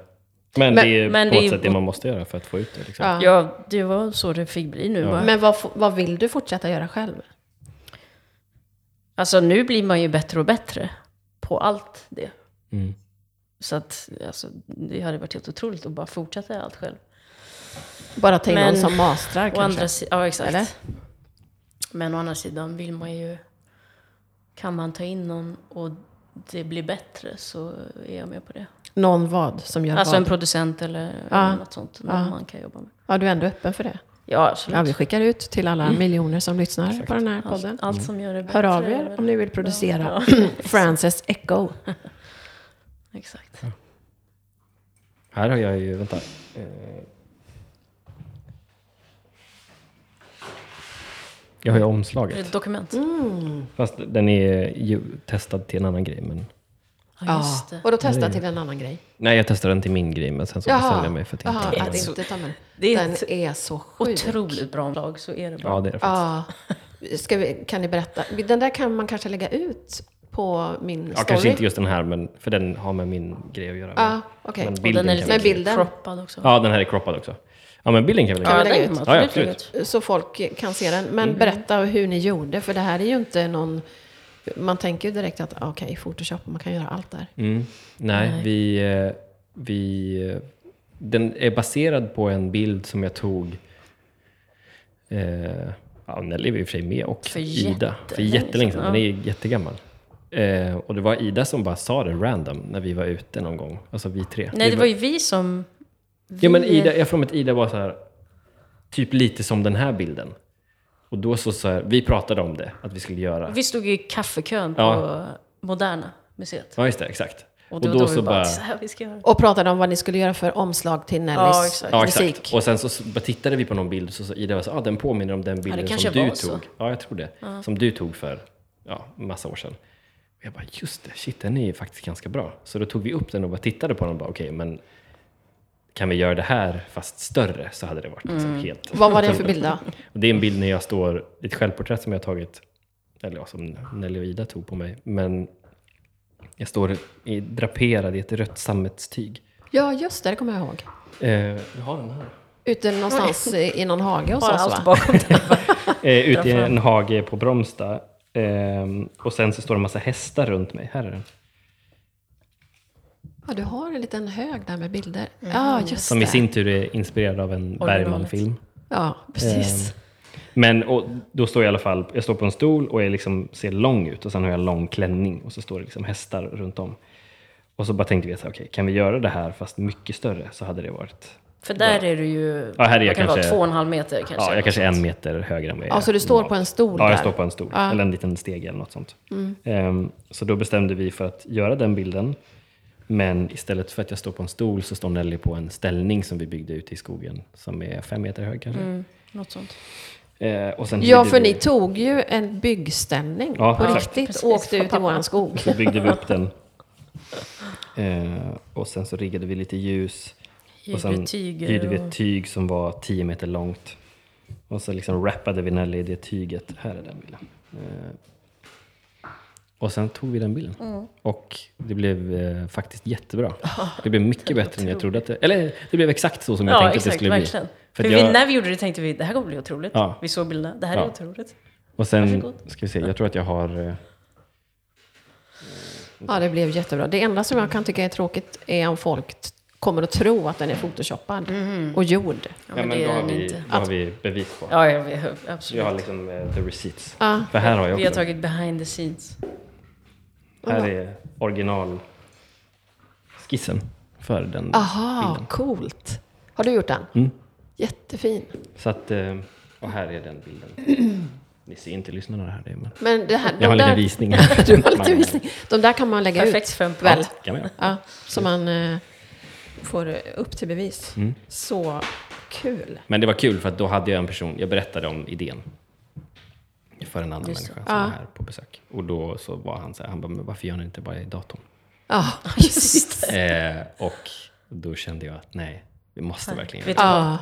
Men, det är
men
på
det
något
är-
sätt det man måste göra för att få ut det. Liksom.
Ja.
Ja, det var så det fick bli nu bara.
Men vad, f- vad vill du fortsätta göra själv?
Alltså nu blir man ju bättre och bättre på allt det.
Mm.
Så att, alltså, det hade varit helt otroligt att bara fortsätta allt själv.
Bara ta in
Men-
någon som mastrar
Å andra
kanske?
sidan, ja exakt.
Eller?
Men å andra sidan vill man ju... Kan man ta in någon och det blir bättre så är jag med på det.
Någon vad som gör
Alltså en
vad?
producent eller
Ja.
något sånt. Någon
Ja.
man kan jobba med.
Ja, du är ändå öppen för det?
Ja,
Ja,
absolut.
vi skickar ut till alla
Mm.
miljoner som lyssnar på den här podden.
allt, allt som gör det bättre.
Hör av
är
er
väl-
om ni vill producera
Ja,
(clears throat) Frances Echo.
exakt.
Här har jag ju, vänta. Eh, Jag har
Det
ju
är ett
omslaget.
dokument.
Mm.
Fast den är ju testad till en annan grej. Men...
Ja, just det.
och då testa till en annan grej.
Nej, jag testade den till min grej, men sen så bestämde jag mig för att
Jaha,
inte...
att inte ta med.
Det är
Den
ett
är så sjuk.
Otroligt bra omslag, så är det bara.
Ja, det är det faktiskt.
Ja. Ska vi, kan ni berätta? Den där kan man kanske lägga ut på min
Ja,
story?
kanske inte just den här, men, för den har med min grej att göra.
Ja,
men-
okej.
Men
Och
bilden
den är
kan vi
lite
Men
lägga ut.
bilden.
croppad också.
Ja, den här är croppad också. Ja, men bilden kan vi lägga
Ja,
ut.
lägga
den
ut.
kan man
Ja, ja,
absolut lägga
absolut.
ut.
Mm. Så folk kan se den. Men berätta hur ni gjorde, för det här är ju inte någon Man tänker ju direkt att ah, okej, Photoshop, man kan göra allt där.
Mm. Nej,
Nej.
Vi, eh, vi... eh, Den är baserad på en bild som jag tog... Eh, ja, Nelly var i och för sig med och
För
Ida. För
jättelänge
jättelänge sedan.
sedan,
Den är jättegammal. Eh, och det var Ida som bara sa det random när vi var ute någon gång. Alltså vi tre.
Nej,
vi
det var ju vi som... Vi,
Ja, men Ida, jag får mig att Ida var så här, typ lite som den här bilden. Och då så, så här, vi pratade om det, att vi skulle göra.
vi stod ju i kaffekön på
Ja.
Moderna museet.
Ja, just det, exakt.
Och då, då, vi bara, så här vi ska göra.
Och pratade om vad ni skulle göra för omslag till
Ja,
Nellys
exakt.
Ja,
musik.
exakt. Och sen så s- bara tittade vi på någon bild och så sa Ida var så, ah, den påminner om den bilden
kanske
som du
var
tog.
så.
Ja, jag tror det. Som du tog för ja, massa år sedan. Och jag bara, just det, shit, den är ju faktiskt ganska bra. Så då tog vi upp den och bara tittade på den och bara, okej, men kan vi göra det här fast större så hade det varit liksom
Mm.
helt...
Vad var det för bild då?
Och det är en bild när jag står, ett självporträtt som jag har tagit, eller ja, som Nelly och Ida tog på mig, men jag står i, draperad i ett rött sammetstyg.
(laughs) Ja, just det, det kommer jag ihåg.
Eh, jag har den här.
Ute (laughs) någonstans i, i någon hage hos
Bara
oss
allt
va?
bakom
(laughs)
det.
Eh, ute i
Därför-
en hage på Bromsta. Ehm, och sen så står det en massa hästar runt mig. Här är den.
Ja, du har en liten hög där med bilder. Ja, just
Som
det.
i sin tur är inspirerad av en
Originalet.
Bergman-film.
Ja, precis.
Ehm, men och då står jag i alla fall, jag står på en stol och jag liksom ser lång ut och sen har jag en lång klänning och så står det liksom hästar runt om. Och så bara tänkte vi, så här, okej, kan vi göra det här fast mycket större så hade det varit...
För där är du ju...
Ja, här är jag
vad kan det
kanske-
Vara, två och en halv meter kanske.
Ja, jag kanske är en meter högre än vad jag
Ja,
är
så du står
normalt.
på en stol
Ja,
där?
jag står på en stol.
Ja. Mm.
Eller en liten steg eller något sånt. Ehm, så då bestämde vi för att göra den bilden. Men istället för att jag står på en stol så står Nelly på en ställning som vi byggde ute i skogen. Som är fem meter hög kanske.
Mm, något sånt.
Ehm, och sen
Ja,
hyrde
för
vi,
ni tog ju en byggställning
Ja,
på
exakt.
riktigt
Precis,
och åkte
från
ut i
pappa.
våran (laughs) skog.
så byggde vi upp den. Ehm, och sen så riggade vi lite ljus. Och sen
Hyrde tyger
hyrde vi ett
och-
tyg som var 10 meter långt. Och så liksom wrappade vi Nelly i det tyget. Här är den bilden. Eh, Och sen tog vi den bilden.
Mm.
Och det blev eh, faktiskt jättebra. Det blev mycket bättre än jag trodde att det... Eller det blev exakt så som jag
Ja,
tänkte att det
exakt.
skulle
Verkligen.
bli.
För
att
vi,
jag,
när vi gjorde det tänkte vi det här kommer bli otroligt.
Ja.
Vi såg bilderna. Det här
Ja.
är otroligt.
och sen,
Varsågod.
ska vi se, jag tror att jag har... eh,
Ja, det blev jättebra. Det enda som jag kan tycka är tråkigt är om folk t- kommer att tro att den är photoshoppad och gjord.
Ja, men det
då
är
har
den
vi,
inte.
då har vi bevis på.
Ja, ja vi, absolut.
Jag har liksom eh, the receipts.
Ja.
För här har jag
vi har
också.
tagit behind the scenes.
Här är originalskissen för den
Ah. Aha, coolt. Har du gjort den?
Mm.
Jättefin.
Så att, eh, och här är den bilden. (clears throat) Ni ser inte lyssnarna här. det är- Men
Men det här,
jag har
de
lite
där,
visning.
du har (laughs) lite visning. De där kan man lägga
Perfekt
ut.
fem
Väl?
Kan man göra.
Ja, så man eh, får eh, upp till bevis.
Mm.
Så kul.
Men det var kul för att då hade jag en person, jag berättade om idén för en annan människa som var här på besök. Och då så var han så här, han bara, men varför gör ni inte bara i datorn?
Ja, just det.
Eh, och då kände jag att nej, vi måste verkligen göra
Vet
det.
du vad?
Ja,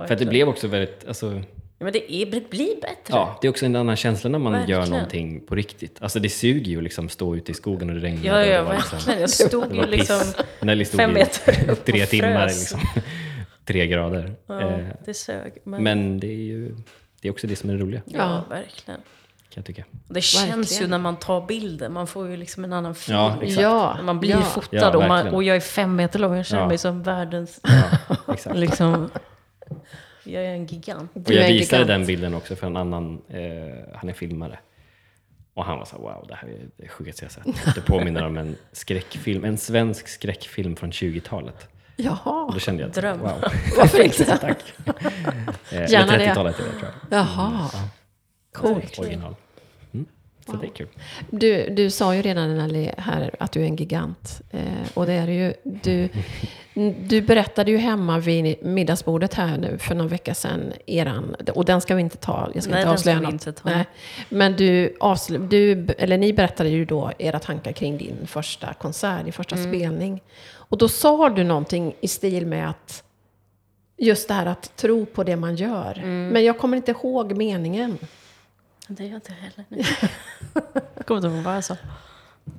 Ja,
För att det blev också väldigt, alltså,
Ja, men det, är, det blir bättre.
ja, det är också en annan känsla när man gör
Typ. Verkligen.
någonting på riktigt. Alltså det suger ju liksom stå ute i skogen och det regnar.
Ja,
och det
ja,
var liksom-
verkligen. Jag stod
Det
ju
var
liksom
piss. Nelly stod
fem
ju
meter upp
tre
och
timmar,
frös.
liksom. (laughs) tre grader.
Ja,
Eh,
det sög. Men,
men det är ju det är också det som är det roliga, kan
ja,
Ja.
verkligen. (laughs)
jag tycka.
Och det känns ju
Verkligen.
när man tar bilden. Man får ju liksom en annan film.
Ja, exakt.
ja.
Man blir
ja.
fotad
Ja,
och, man,
verkligen.
och jag är fem meter lång. Jag känner
Ja.
mig som världens...
Ja, exakt.
(laughs)
Liksom, jag är en gigant.
Du
Och jag
är en
visade
gigant.
den bilden också för en annan, eh, han är filmare. Och han var så här, wow, det här är det sjukaste jag sett. Det påminner om en skräckfilm, en svensk skräckfilm från 20-talet. Och
Jaha.
då kände jag att,
Dröm.
wow.
Varför inte?
Tack. Eh, eller
Gärna det.
30-talet är det, tror jag.
Jaha. Coolt.
Original. Mm. Så det är kul.
Du, du sa ju redan Nelly, här att du är en gigant. Eh, och det är du ju. Du, du berättade ju hemma vid middagsbordet här nu för någon vecka sedan. Eran, och den ska vi inte ta. Jag ska
Nej,
inte
den
avslöja
ska vi
något.
inte ta.
Nej. Men du, avslö, du, eller ni berättade ju då era tankar kring din första konsert, din första
Mm.
spelning. Och då sa du någonting i stil med att just det här att tro på det man gör.
Mm.
Men jag kommer inte ihåg meningen.
Det gör jag inte heller nu. (laughs) jag kommer inte ihåg vad jag sa.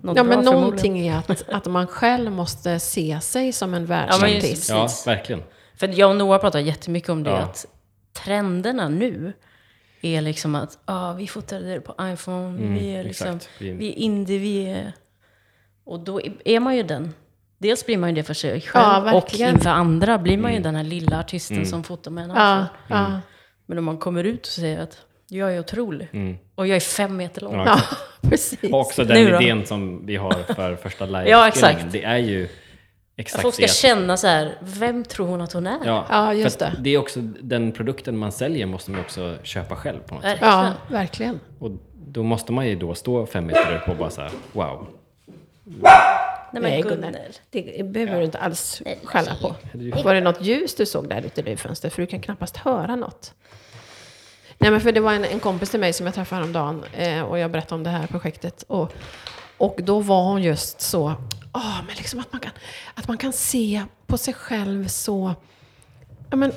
Något bra
Ja, men
förmodligen.
någonting är att, att man själv måste se sig som en världsartist.
Ja,
Precis.
verkligen.
För jag och Noah pratar jättemycket om det,
Ja.
att trenderna nu är liksom att ah, vi fotade det på iPhone,
Mm,
vi är liksom,
exakt. Vi-
vi är indie, vi är... Och då är man ju den. Dels blir man ju det för sig
Ja,
själv och
verkligen.
inför andra blir
Mm.
man ju den här lilla artisten som fotar med en iPhone.
Ja, ja,
Men om man kommer ut och säger att jag är otrolig
Mm.
och jag är fem meter lång.
Ja.
ja, (laughs) precis.
Och också
Nu då?
den idén som vi har för första
(laughs)
live
Ja, exakt.
Det är ju exakt
Folk ska
det.
känna så här, vem tror hon att hon är?
Ja,
Ja, just
för att
det.
Det är också den produkten man säljer måste man också köpa själv på något sätt.
Verkligen.
Ja, verkligen.
Och då måste man ju då stå fem meter upp och bara så här, wow.
Nej, men
Nej,
Gunnel.
Gunnel. Det behöver du inte alls skälla på. Var det något ljus du såg där ute i det fönstret? För du kan knappast höra något. Nej, men för det var en, en kompis till mig som jag träffade häromdagen eh, och jag berättade om det här projektet. Och, och då var hon just så, ah, men liksom att, man kan, att man kan se på sig själv så... Ja, men,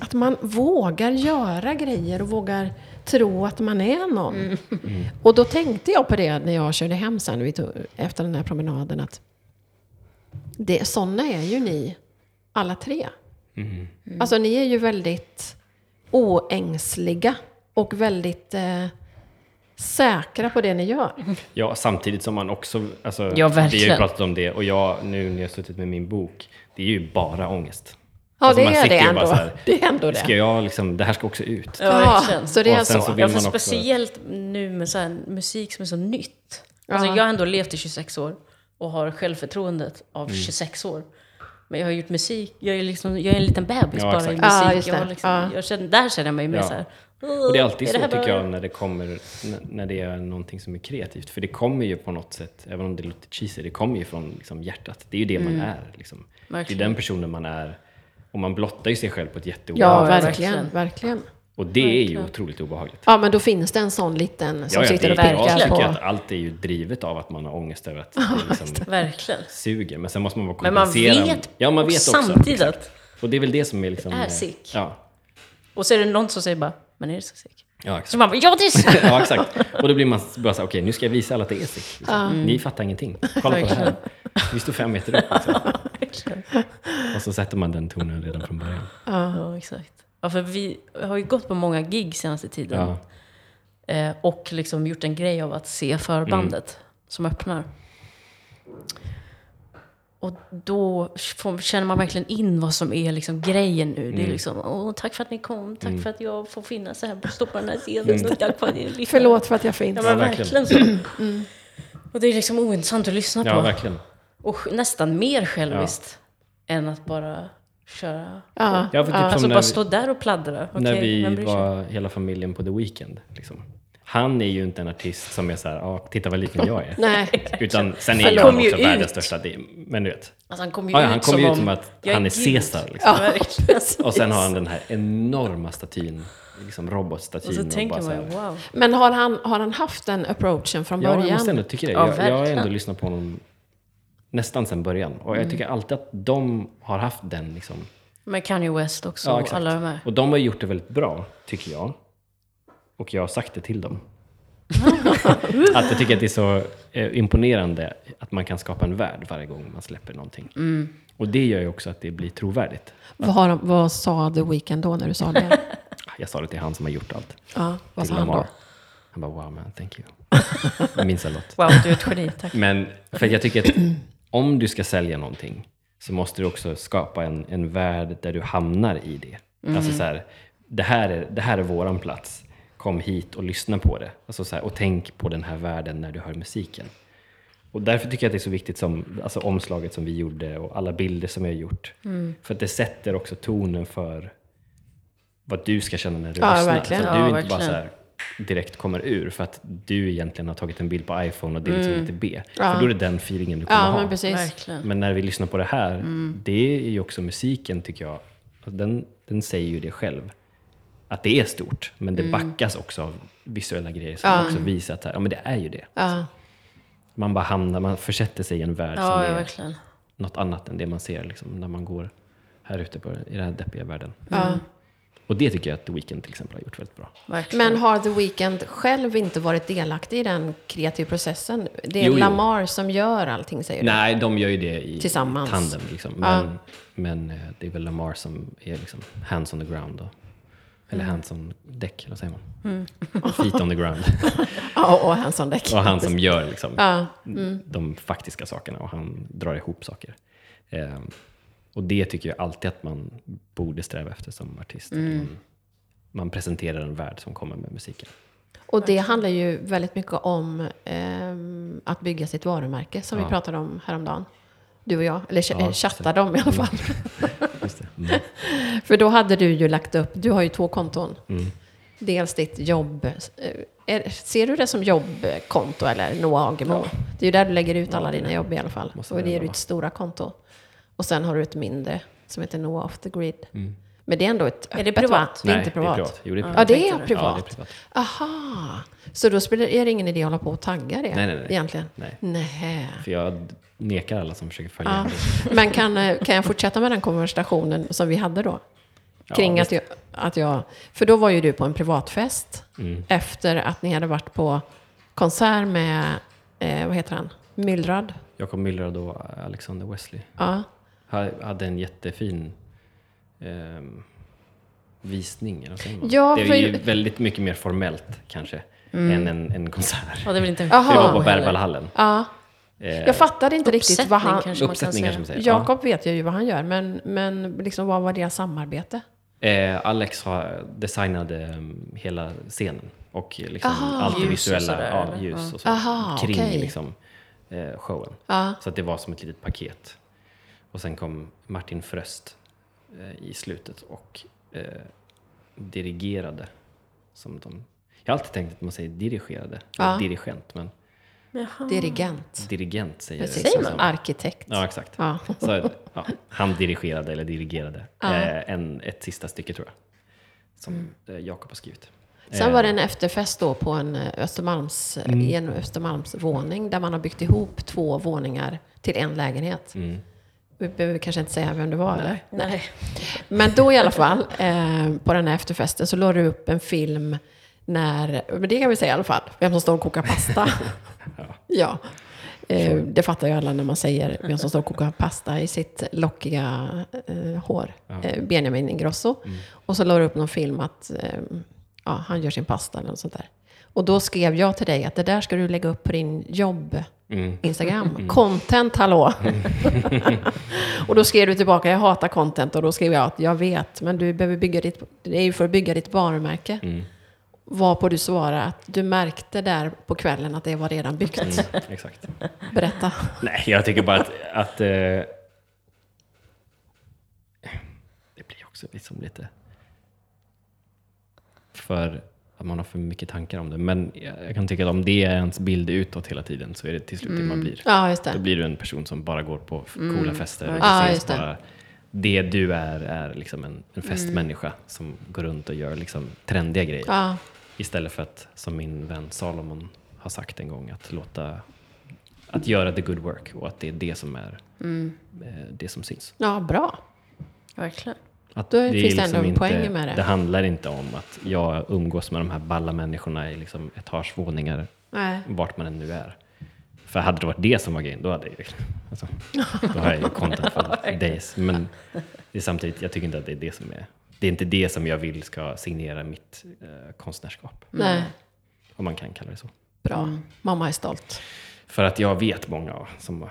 att man vågar göra grejer och vågar tro att man är någon. Och då tänkte jag på det när jag körde hem sen vi tog, efter den här promenaden. att det, Sådana är ju ni alla tre.
Mm.
Alltså ni är ju väldigt oängsliga och väldigt eh, säkra på det ni gör.
Ja, samtidigt som man också, alltså,
Ja,
vi har ju
verkligen.
pratat om det och jag, nu när jag har suttit med min bok, det är ju bara ångest.
Ja,
Alltså,
det
man
är
sitter
det
ju bara
ändå.
så här,
det är ändå
Ska
det.
jag liksom, det här ska också ut.
Ja, verkligen.
så det är alltså-
Och sen så
så.
vill
Ja, för
man också-
speciellt nu med så här musik som är så nytt.
Ja.
Alltså, jag har ändå levt i 26 år och har självförtroendet av
Mm.
26 år. Men jag har gjort musik, jag är, liksom, jag är en liten bebis
Ja,
bara i
exakt.
musik.
Ja, just
jag
det.
har liksom,
Ja.
jag känner, där känner jag mig mer
Ja.
så här.
Och det är alltid
"Åh,
så
det här
tycker
bra?"
jag när det kommer, n- när det är någonting som är kreativt. För det kommer ju på något sätt, även om det låter cheesy, det kommer ju från liksom, hjärtat. Det är ju det man är. Liksom. Det är
Verkligen.
den personen man är. Och man blottar ju sig själv på ett
Ja,
jätteobehagligt sätt.
verkligen,
verkligen.
verkligen.
Och det är ju otroligt obehagligt.
Ja, men då finns det en sån liten
Ja,
som
ja, det,
sitter och
är- jag
verkar
tycker
på...
att allt är ju drivet av att man har ångest över att det liksom
Verkligen.
suger. Men sen måste man vara
Men man
kompensera.
vet,
ja, man
och
vet också.
samtidigt att...
Och det är väl det som är liksom...
Är
eh,
sick.
Ja,
Och så är det någon som säger bara, men är det så sick?
ja
Så
exakt.
man bara, ja det är så!
(laughs) Ja, exakt. Och då blir man bara så här, okej, nu ska jag visa alla att det är sick. Liksom. Ni fattar ingenting.
Mm.
Kolla på det här. Vi står fem meter upp. Liksom. (laughs) Och så sätter man den tonen redan från början.
Ja, exakt. Ja, för vi har ju gått på många gig senaste tiden.
Ja.
Eh, och liksom gjort en grej av att se förbandet
Mm.
som öppnar. Och då får, känner man verkligen in vad som är liksom grejen nu.
Mm.
Det är liksom, åh, tack för att ni kom, tack för att jag får finnas här, stå på den här scenen, och tack för att ni lyssnar.
Förlåt för att jag finns.
Ja, men
Mm. Ja,
verkligen
verkligen.
så. Och det är liksom ointressant att lyssna
ja,
på.
verkligen.
Och sj- nästan mer själviskt än att bara köra.
Ja,
Ja, för typ
Alltså
som
bara
när,
stå där och pladdra. Okej,
när
vem
vi
bryr sig?
var hela familjen på The Weeknd. Liksom. Han är ju inte en artist som är så här, ah, titta vad liten jag
(laughs)
är.
Nej.
Utan sen är
Förlåt.
ju han
Kom ju
också världens
ut.
största. det- Men du vet.
Alltså han kom ju
Ja, ja,
ut
han
som
kommer ju
om
ut som att
jag är
han är
gud.
Caesar. Liksom.
(laughs) Ja, verkligen.
Och sen har han den här enorma statyn, liksom robotstatyn.
Och så tänker
bara så
man
här-
ju wow.
Men har han, har han haft den approachen från
Ja,
början?
jag måste ändå tycka det.
Ja,
jag, jag har
verkligen.
ändå lyssnat på honom nästan sedan början. Och
Mm.
jag tycker alltid att de har haft den. Liksom.
Med Kanye West också
Ja,
och
exakt.
alla de här.
Och de har gjort det väldigt bra, tycker jag. Och jag har sagt det
(laughs)
till dem. att jag tycker att det är så eh, imponerande att man kan skapa en värld varje gång man släpper någonting.
Mm.
Och det gör ju också att det blir trovärdigt.
Vad, har, de- vad sa The Weeknd då när du sa det? (laughs)
Jag sa det till han som har gjort allt.
ja, vad sa
till
han då?
Lamar. Han bara, wow man, thank you. Jag minns en låt.
Wow, du är ett geni, (laughs) tack.
Men för att jag tycker att om du ska sälja någonting så måste du också skapa en, en värld där du hamnar i det.
Mm.
Alltså så här, det här, är, det här är våran plats. Kom hit och lyssna på det. Alltså så här, och tänk på den här världen när du hör musiken. Och därför tycker jag att det är så viktigt som alltså omslaget som vi gjorde och alla bilder som jag har gjort.
Mm.
För att det sätter också tonen för vad du ska känna när du
Ja,
lyssnar.
verkligen.
Så att du
Ja,
inte
verkligen.
bara så här direkt kommer ur för att du egentligen har tagit en bild på iPhone och det är liksom lite B.
Mm. Ja.
För då är det den feelingen du kommer
Ja,
ha.
men precis. Mm.
Verkligen.
Men när vi lyssnar på det här, det är ju också musiken tycker jag. Och Den, den säger ju det själv. Att det är stort, men
Mm.
det backas också av visuella grejer som också visar att så här, ja, men det är ju det.
Ja,
Man bara hamnar, man försätter sig i en värld som
Ja, ja,
är
verkligen.
något annat än det man ser liksom, när man går här ute på, i den här deppiga världen.
ja.
Och det tycker jag att The Weeknd till exempel har gjort väldigt bra.
verkligen.
Men har The Weeknd själv inte varit delaktig i den kreativa processen? Det är
Jo, jo.
Lamar som gör allting, säger du?
Nej, de gör ju det i
Tillsammans.
tandem. Liksom. Men, men eh, det är väl Lamar som är liksom hands on the ground och Eller
Mm.
hands on deck, eller vad säger man? (laughs) Feet on the
(laughs)
ground.
Ja, och han som däck.
Och han som gör liksom
Ja, Mm.
de faktiska sakerna och han drar ihop saker. Ehm, och det tycker jag alltid att man borde sträva efter som artist.
Mm.
Man, man presenterar en värld som kommer med musiken.
och det handlar ju väldigt mycket om ehm, att bygga sitt varumärke som
Ja.
vi pratade om häromdagen. Du och jag, eller
Ja,
ja, chattade om i alla fall.
Just det. Mm.
För då hade du ju lagt upp, du har ju två konton.
Mm.
Dels ditt jobb. eh, Är, ser du det som jobbkonto eller Noah Agemo? Det är ju där du lägger ut alla dina jobb i alla fall.
Måste
Och
det
det är
vara.
ditt stora konto. Och sen har du ett mindre som heter Noah Off the Grid. Men det är ändå ett
Är det
öppet, va?
privat?
Det är
Mm. Nej,
inte privat.
Det är privat. Jo, det är
Ja,
privat.
det är
det.
privat.
Ja, det är privat.
Aha! Så då spelar, är det ingen idé att hålla på och tagga det
Nej, nej, nej.
egentligen?
Nej.
Nähä.
För jag nekar alla som försöker följa
Ja.
det.
Men kan, eh, kan jag fortsätta med den konversationen som vi hade då?
Ja,
Kring
visst.
att, jag, att jag... För då var ju du på en privatfest
Mm.
efter att ni hade varit på konsert med, eh, vad heter han, Myllrad?
Jakob Myllrad och Alexander Wesley
Ja.
ha- hade en jättefin ehm, visning. Eller vad säger man?
Ja,
det är
för-
ju väldigt mycket mer formellt kanske än en, en konsert.
Ja, det är väl inte en
Jaha.
För det var
show
på
heller.
Berwaldhallen.
ja.
Eh,
Jag fattade inte riktigt vad han...
Uppsättning kanske man kan
Uppsättning
säga.
kanske man säger. Ja.
Jakob vet jag ju vad han gör, men, men liksom, vad var deras samarbete?
Eh, Alex har designat eh, hela scenen och liksom
Aha.
allt det
Ljus och
visuella,
sådär,
ja,
eller?
ljus
Ja.
och så
Aha,
kring
okej.
liksom, eh, showen.
Ja.
Så att det var som ett litet paket. Och sen kom Martin Fröst eh, i slutet och eh, dirigerade. Som de, jag har alltid tänkt att man säger dirigerade,
Ja.
eller dirigent, men
Jaha.
Dirigent.
dirigent säger
Precis
det. liksom
som en arkitekt.
Ja, exakt.
Ja.
Så, ja, han dirigerade, eller dirigerade, eh, en, ett sista stycke tror jag. Som eh, Jakob har skrivit. Eh.
Sen var det en efterfest då på en eh, Östermalms,
Mm.
i en Östermalmsvåning där man har byggt ihop två våningar till en lägenhet.
Mm.
Vi behöver kanske inte säga vem det var eller?
Nej.
Men då i alla fall, eh, på den här efterfesten så lade du upp en film när, men det kan vi säga i alla fall, vem som står och kokar pasta. ja. Eh, det fattar ju alla när man säger vem som står och kokar pasta i sitt lockiga eh, hår. Eh, Benjamin Ingrosso. Och så lade du upp någon film att eh, ja, han gör sin pasta eller något sånt där. Och då skrev jag till dig att det där ska du lägga upp på din jobb. Instagram. Content, hallå! (laughs) och då skrev du tillbaka, jag hatar content. Och då skrev jag att jag vet, men du behöver bygga ditt, det är ju för att bygga ditt varumärke. Varpå du svarar att du märkte där på kvällen att det var redan byggt.
Mm, exakt.
Berätta.
Nej, jag tycker bara att... att eh, det blir också liksom lite... För att man har för mycket tankar om det. Men jag jag kan tycka att om det är ens bild utåt hela tiden så är det till slut det man blir.
Ja, just
Då
det.
blir du en person som bara går på f- coola fester. Och
Mm. Ja,
ses
just det. Mm.
Bara, det du är, är liksom en, en festmänniska som går runt och gör liksom trendiga grejer.
Ja,
Istället för att, som min vän Salomon har sagt en gång, att låta att göra the good work och att det är det som är
Mm.
eh, det som syns.
ja bra.
Verkligen.
Att
Då
är liksom
finns det ändå en poäng med det.
Det handlar inte om att jag umgås med de här balla människorna i liksom etagevåningar,
Nej.
vart man än nu är. För hade det varit det som var grejen, då hade jag ju... Alltså, då har jag ju content
(laughs)
för (laughs) days. Men det är samtidigt, jag tycker inte att det är det som är... Det är inte det som jag vill ska signera mitt eh, konstnärskap.
Nej. Mm.
Om man kan kalla det så.
Bra. Mamma är stolt.
För att jag vet många som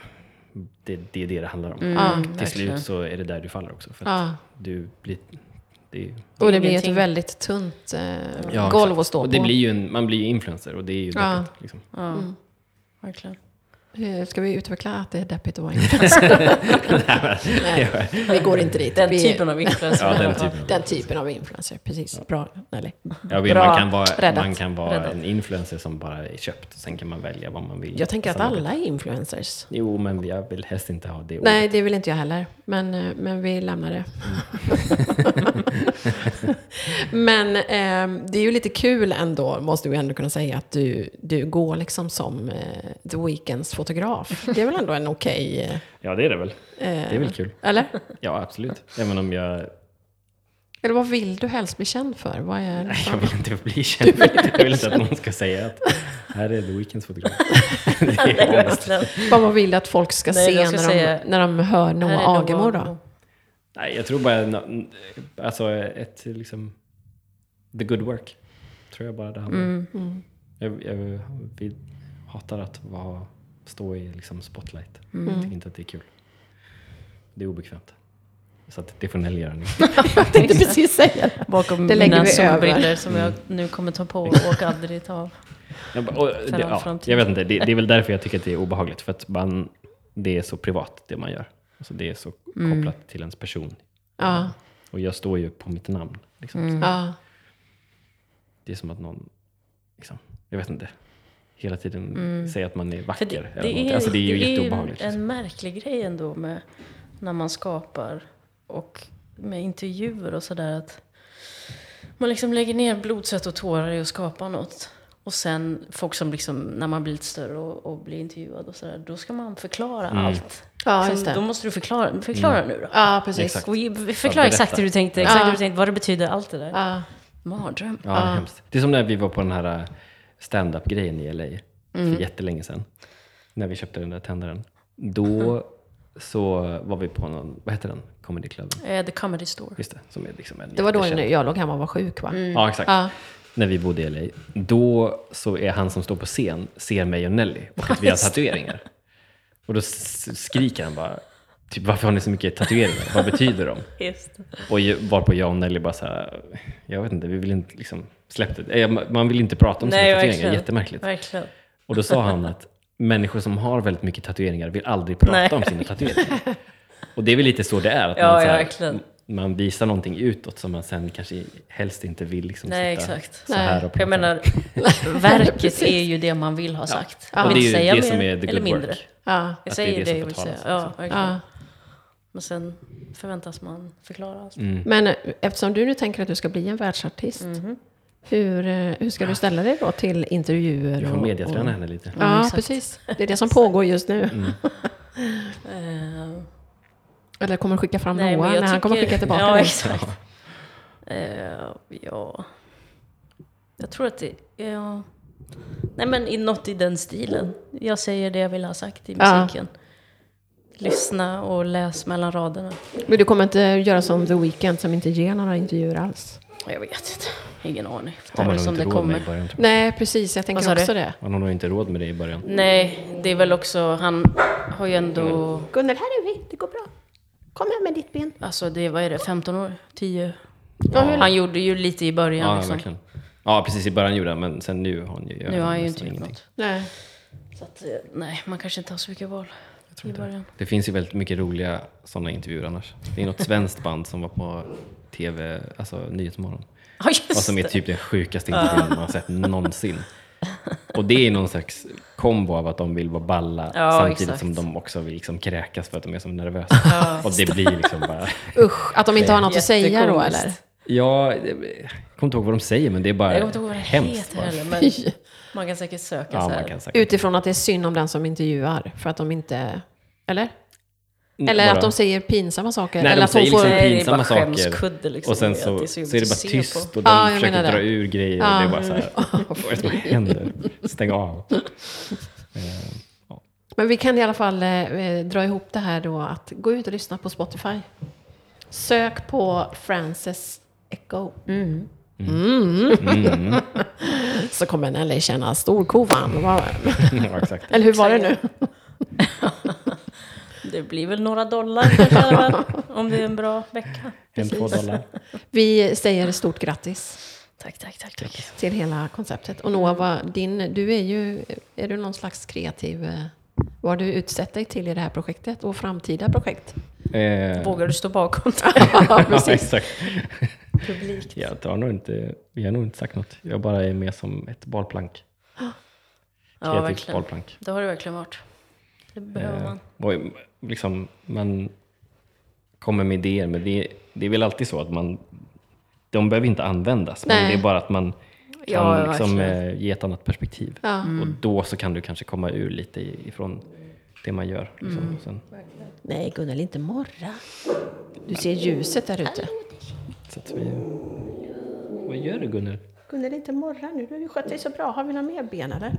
det, det är det det handlar
Mm,
om. Till slut så är det där du faller också. För att
Mm, Ja.
du blir, det är,
Och det blir ett
Ingenting.
väldigt tunt eh,
Ja,
golv
exakt.
att stå på.
och det blir ju en, Man blir ju influencer och det är ju
Ja.
deppigt. Liksom. (laughs)
Ja, verkligen.
Eh, Ska vi utveckla att det är deppigt att vara influencer? Nej, (laughs) vi går inte dit.
Den
vi,
typen av (laughs) influencer.
Ja, den typen.
den typen av influencer, precis. Bra, eller
Jag vet,
bra
man kan vara,
räddat.
man kan vara
Räddat.
en influencer som bara är köpt. Sen kan man välja vad man vill.
Jag tänker att
Sen-
alla är influencers.
Jo, men jag vill helst inte ha det
Nej, det vill inte jag heller. Men, eh, men vi
(laughs)
lämnar det. men eh, det är ju lite kul ändå, måste vi ändå kunna säga, att du, du går liksom som eh, The Weeknds fotograf. Det är väl ändå en okej...
Ja, det är det väl.
eh,
Det är väl kul.
Eller?
Ja, absolut. Även om jag
Eller vad vill du helst bli känd för? Vad är
(laughs) Jag vill inte bli känd. Jag vill inte att någon ska säga att här är The Weeknds fotograf. Det är ångest.
verkligen.
Vad man vill att folk ska
Nej,
se
jag ska
när,
säga-
de, när de hör
Här är
Noah
Noah
Agemo då?
Agemo.
Nej, jag tror bara nå- alltså ett liksom the good work. Tror jag bara det handlar om.
Mm.
Mm. (laughs)
Jag, jag, vi hatar att vara, stå i liksom spotlight.
Mm.
Jag tycker inte att det är kul. Det är obekvämt. Så att det får
(laughs)
Nelly göra nu.
Jag tänkte precis säga det.
Bakom
Det lägger
mina
vi över.
solbrillor som jag nu kommer ta på och aldrig ta av.
Jag, bara, och, det,
Sällan
ja,
framtid.
jag vet inte, det, det är väl därför jag tycker att det är obehagligt. För att man, det är så privat det man gör. Alltså det är så
Mm.
kopplat till ens person.
Ja,
Och jag står ju på mitt namn. Liksom.
Mm.
ja.
Det är som att någon, liksom, jag vet inte, hela tiden säger att man är
Mm. För
vacker.
det,
eller
det,
någonting.
är,
alltså det är ju
det är
jätteobehagligt. liksom.
en märklig grej ändå med när man skapar och med intervjuer och sådär. att Man liksom lägger ner blod, svett och tårar i att skapa något. Och sen folk som liksom, när man blir lite större och, och blir intervjuad och sådär, då ska man förklara
Mm.
allt.
ja
Som-
just
Då
det.
måste du förklara, förklara nu då.
Ja, precis.
Exakt.
Och ge-
Ja,
Förklara exakt
berätta.
hur du tänkte, exakt
Ja.
hur du tänkte, vad det betyder, allt det där.
Ja.
Mardröm.
Ja, hemskt. Det är som när vi var på den här stand up grejen i LA
Mm.
för jättelänge sedan. När vi köpte den där tändaren. Då
Mm-hmm.
så var vi på någon, vad heter den? Comedy Club.
Eh, The Comedy Store.
Just det, som är liksom en
Det var då
jättekänd-
jag låg hemma och var sjuk
Mm.
va?
Ja, exakt.
Ja.
När vi bodde i LA. Då så är han som står på scen, ser mig och Nelly och
(laughs)
att vi har tatueringar. Och då s- skriker han bara, typ varför har ni så mycket tatueringar? Vad betyder de?
Just det.
Och ju- varpå jag och Nelly bara så här, jag vet inte, vi vill inte liksom, släpp det. Eh, Man vill inte prata om sina
Nej,
tatueringar,
verkligen.
jättemärkligt.
Verkligen.
Och då sa han att människor som har väldigt mycket tatueringar vill aldrig prata
Nej.
om sina tatueringar. Och det är väl lite så det är, att
Ja,
man, så
ja,
här,
verkligen.
man visar någonting utåt som man sen kanske helst inte vill liksom
Nej,
sitta
exakt.
så
Nej.
här och prata
Jag
om. (laughs)
menar, verket är ju det man vill ha sagt.
och
Man
det
vill
är ju
säga
det
mer
som är the
eller
good
mindre.
work.
Ja.
Jag
Att
säger det,
det är det som
jag vill säga.
betalas, liksom.
Ja, verkligen.
Ja.
Men sen förväntas man förklara allt.
Mm.
Men eh, eftersom du nu tänker att du ska bli en världsartist, hur, eh, hur ska du ställa dig då till intervjuer?
Du får
och-
mediaträna
och-
henne lite.
Ja,
Mm, exakt.
precis. Det är det som pågår just nu.
Mm.
Eh,
Eller kommer skicka fram
nej,
Noah
men
när
jag
han kommer
tycker-
skicka tillbaka
Ja,
dig.
exakt. Eh, ja. Jag tror att det... Ja. Nej, men i- något i den stilen. Jag säger det jag vill ha sagt i
Ja.
musiken. Lyssna och läs mellan raderna.
Men du kommer inte göra som The Weeknd som inte ger några intervjuer alls?
Jag vet inte. Ingen aning. Det
Har
är
man
väl
nog
som
inte
det
råd med i
kommer.
början. tror jag.
Nej, precis. Jag
Vad
tänker
sa du?
också det.
Man har nog inte råd med det i början.
Nej, det är väl också, han har ju ändå,
Gunnel, här är vi. Det går bra. Kom här med ditt ben.
alltså det, vad är det, 15 år? 10?
Ja, hur-
Han gjorde ju lite i början
Ja,
liksom.
verkligen. Ja, precis i början gjorde han, men sen nu har han ju
Nu har han ju inte
nästan
gjort
Alltså, ingenting.
något.
Nej.
Så att, eh, nej, man kanske inte har så mycket val (laughs) i början.
Det finns ju väldigt mycket roliga sådana intervjuer annars. Det
(laughs)
är något svenskt band som var på TV, alltså Nyhetsmorgon.
Ja,
Och
just
som är
det.
typ den sjukaste intervjun man har sett någonsin. Och det är någon slags kombo av att de vill vara balla
Ja,
samtidigt
exakt.
som de också vill liksom kräkas för att de är så nervösa. Och det blir liksom bara...
Usch, att de inte har något att säga då
Jättekomiskt.
eller?
Ja, jag kommer inte ihåg vad de säger men det är bara
Jag kommer inte ihåg vad det
hemskt.
heter
bara.
heller, men
(laughs)
man kan säkert söka
Ja,
så
man
här.
kan säkert.
Utifrån att det är synd om den som intervjuar, för att de inte... Eller? Eller
Vadå?
att de säger pinsamma
Eh,
saker.
Mm, Nej,
eller
de
att hon
säger liksom
Nej, det är
pinsamma
bara
saker.
skämskudde, liksom,
och sen
det är
så,
att det är
så
så
är
jobbigt
det
att
bara
se
tyst och de
Ja, jag
försöker
menar
dra
det.
ur grejer. Och det är bara så här, (laughs) vad är det som händer?
(laughs)
Stäng av.
Men vi kan i alla fall eh, dra ihop det här då att gå ut och lyssna på Spotify. Sök på Frances Echo. Mm. (laughs) Så kommer Nelly känna storkovan. Vad-
ja, exakt.
Eller hur var det nu?
Det blir väl några dollar kanske, i
(laughs)
alla fall, om det är en bra vecka.
En, två dollar.
Vi säger stort grattis
Tack, tack, tack. tack.
till hela konceptet. Och Noah, vad din, du är ju, är du någon slags kreativ, eh, vad har du utsett dig till i det här projektet och framtida projekt?
Eh,
Vågar du stå bakom det? (laughs)
Ja,
(laughs) ja,
precis.
exakt.
Publikt.
Jag har nog inte, vi har nog inte sagt något. Jag bara är med som ett bollplank.
Ja,
Kreativt
verkligen.
bollplank.
Det har du verkligen varit. Det behöver
Eh,
man.
och liksom, man kommer med idéer, men det, det är väl alltid så att man... De behöver inte användas, men
Nej.
det är bara att man kan
Ja,
liksom,
verkligen.
eh, ge ett annat perspektiv.
Ja.
Och då så kan du kanske komma ur lite i- ifrån det man gör. Liksom.
Mm.
Och Sen,
Nej, Gunnel, inte morra. Du ser ljuset där ute.
så att vi, vad gör du Gunnel?
Gunnel, inte morra nu. Du skötte dig så bra. Har vi några mer ben eller?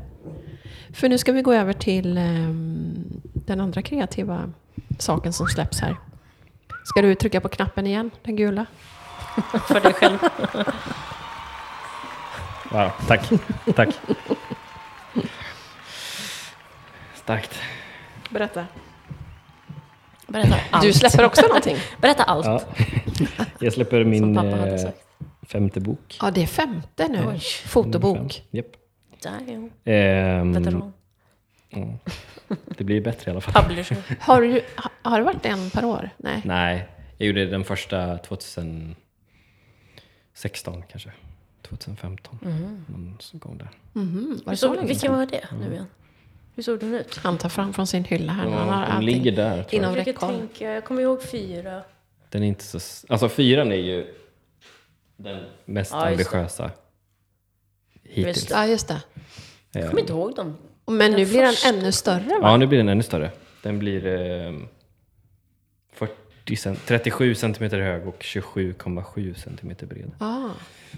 För nu ska vi gå över till ehm, den andra kreativa saken som släpps här. Ska du trycka på knappen igen, den gula?
För dig själv.
Ja, tack. tack. Starkt.
Berätta.
(laughs) Berätta allt.
Du släpper också någonting?
Berätta allt.
Ja. Jag släpper
Som
min
pappa hade
eh,
sagt.
femte bok.
(laughs) Ja, det är femte nu.
Oj. Nummer
Fotobok.
fem. Japp.
Damn.
Ehm,
Veteran.
ja. Det blir bättre i alla fall.
Publisher.
Har, du, ha- har det varit en per år? Nej.
(laughs) Nej, jag gjorde den första 2016 kanske. 2015. Någon som kom där.
Mhm, Var
Hur
det så
såg,
länge?
vilken var det nu igen? Mm. Hur såg den ut?
Han tar fram från sin hylla här.
Ja,
nu. han har
de
allting.
ligger där. Tror jag.
Inom
Jag försöker
räckhåll.
tänka, jag kommer ihåg fyra.
Den är inte så... s- Alltså fyran är ju den mest
Ja, just det.
ambitiösa
Just
hittills.
det.
Ja, just det.
Eh,
Jag kommer inte ihåg dem.
Men nu blir
första.
den ännu större va?
Ja, nu blir den ännu större. Den blir ehm, 40 cent- 37 centimeter hög och 27,7 centimeter bred.
Ja,
Så
Ah,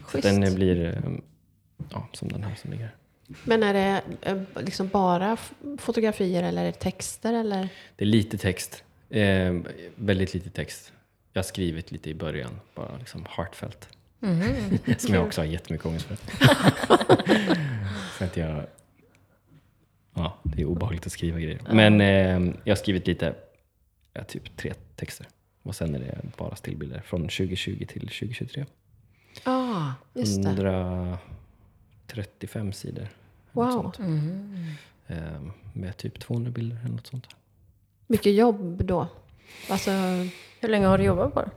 schysst.
den eh, blir ehm, ja, som den här som ligger här.
Men är det eh, liksom bara f- fotografier eller är det texter eller?
Det är lite text. Eh, väldigt lite text. Jag har skrivit lite i början, bara liksom heartfelt.
Mhm.
(laughs) Som jag också har jättemycket ångest
(laughs)
för. för att jag... Ja, det är obehagligt att skriva grejer. Men eh, jag har skrivit lite, ja, typ tre texter. Och sen är det bara stillbilder från 2020 till 2023.
Ja, Ah, just det.
135 sidor. eller något
Wow.
sånt. Eh, med typ 200 bilder eller något sånt.
Mycket jobb då. Alltså,
Hur länge har du jobbat på den?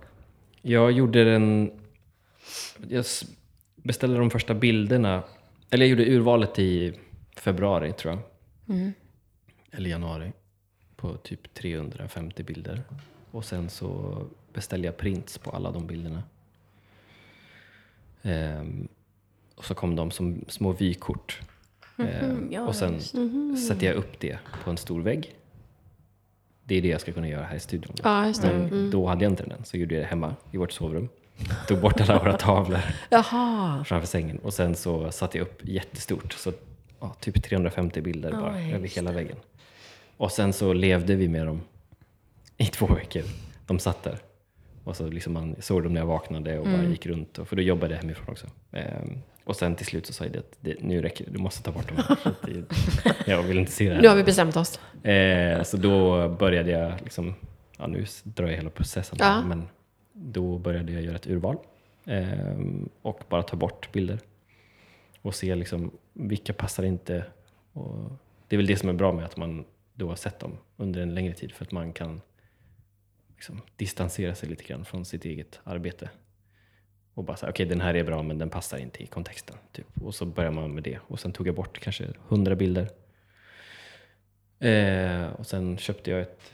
Jag gjorde den... Jag s- beställde de första bilderna. Eller jag gjorde urvalet i februari, tror jag. Eller januari. På typ 350 bilder. Och sen så beställde jag prints på alla de bilderna. Ehm, och så kom de som små vykort. Ehm,
Mm, ja,
och sen satte jag upp det på en stor vägg. Det är det jag ska kunna göra här i studion.
ja, just det.
Men då hade jag inte den, så gjorde jag det hemma i vårt sovrum. Tog bort alla våra tavlor
Jaha.
framför sängen och sen så satte jag upp jättestort. Så ja, typ 350 bilder bara
Ja,
över
just
hela väggen. Och sen så levde vi med dem i två veckor. De satt där. Och så liksom man såg dem när jag vaknade och bara gick runt. Och, för då jobbade jag hemifrån också. Ehm, och sen till slut så sa jag det att det, nu räcker det, du måste ta bort dem här. för att det- Jag vill inte se det här.
Nu har vi bestämt oss.
Eh, så då började jag, liksom, ja, nu s- drar jag hela processen, här,
Ja.
men då började jag göra ett urval eh, och bara ta bort bilder och se liksom, vilka passar inte. Och det är väl det som är bra med att man då har sett dem under en längre tid för att man kan liksom, distansera sig lite grann från sitt eget arbete. Och bara säga, okej den här är bra men den passar inte i kontexten. Typ. Och så börjar man med det. Och sen tog jag bort kanske hundra bilder. Eh, och sen köpte jag ett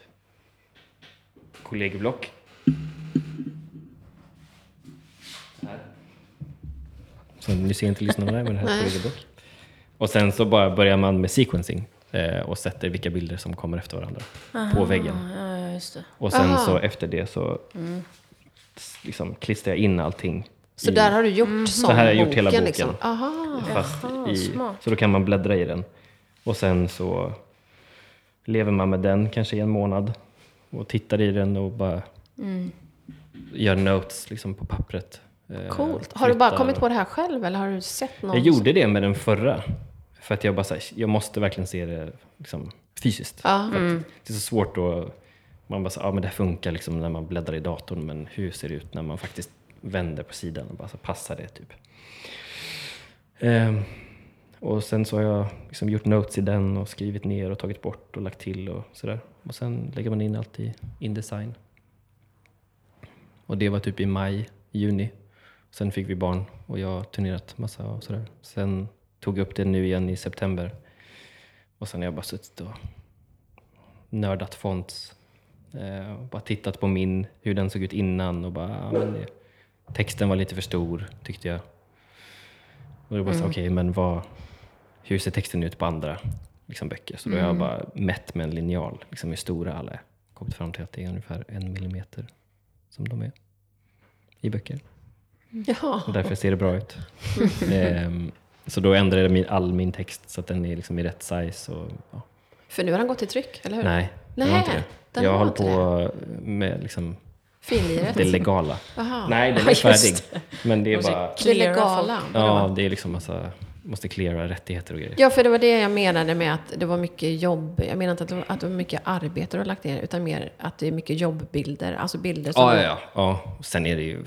kollegieblock. Här. Så nu ser inte lyssnarna det, men det här är ett kollegieblock. Och sen så bara börjar man med sequencing eh, och sätter vilka bilder som kommer efter varandra på väggen.
Ja, ja, just det.
Och sen
Ah. Aha. Mm.
så efter det så s- liksom klistrar jag in allting.
Så
i,
där har du gjort mm.
Så här har jag gjort hela boken.
Liksom. Aha.
fast
Jaha,
i,
smart.
Så då kan man bläddra i den. Och sen så lever man med den kanske i en månad och tittar i den och bara
Mm.
gör notes liksom på pappret. Eh,
Coolt. Har du bara
flyttar.
kommit på det här själv eller har du sett någon?
Jag gjorde det med den förra. För att jag bara såhär, jag måste verkligen se det liksom, fysiskt.
Ja.
För att Det är så svårt att... Man bara så, ja men det här funkar liksom när man bläddrar i datorn, men hur ser det ut när man faktiskt vänder på sidan och bara så passar det typ. Ehm, och sen så har jag liksom gjort notes i den och skrivit ner och tagit bort och lagt till och sådär. Och sen lägger man in allt i Indesign. Och det var typ i maj, juni. Sen fick vi barn och jag har turnerat massa och sådär. Sen tog jag upp det nu igen i september. Och sen har jag bara suttit och nördat fonts. Eh, och bara tittat på min, hur den såg ut innan och bara, ah, men det, texten var lite för stor tyckte jag. Och då bara, mm. okej, men vad, hur ser texten ut på andra liksom, böcker? Så då har jag bara mätt med en linjal, liksom, hur stora alla är. Kommit fram till att det är ungefär en millimeter som de är i böcker.
Jaha.
Och därför ser det bra ut. Ehm, så då ändrade jag min, all min text så att den är liksom i rätt size. Och, ja.
För nu har den gått i tryck, eller hur?
Nej, det
Nej,
var inte det.
den
jag
var
håller
inte
på med liksom
Finliret?
Det legala.
Jaha.
Nej, den
Ja,
är
just
färdig.
det.
Men det är
Måste
bara...
Det
cleara
legala.
Ja, det är liksom massa... Måste cleara rättigheter och grejer.
Ja, för det var det jag menade med att det var mycket jobb. Jag menar inte att det var, att det var mycket arbete du har lagt ner, utan mer att det är mycket jobbbilder. Alltså bilder som...
Ja, ja, ja. ja. Sen är det ju...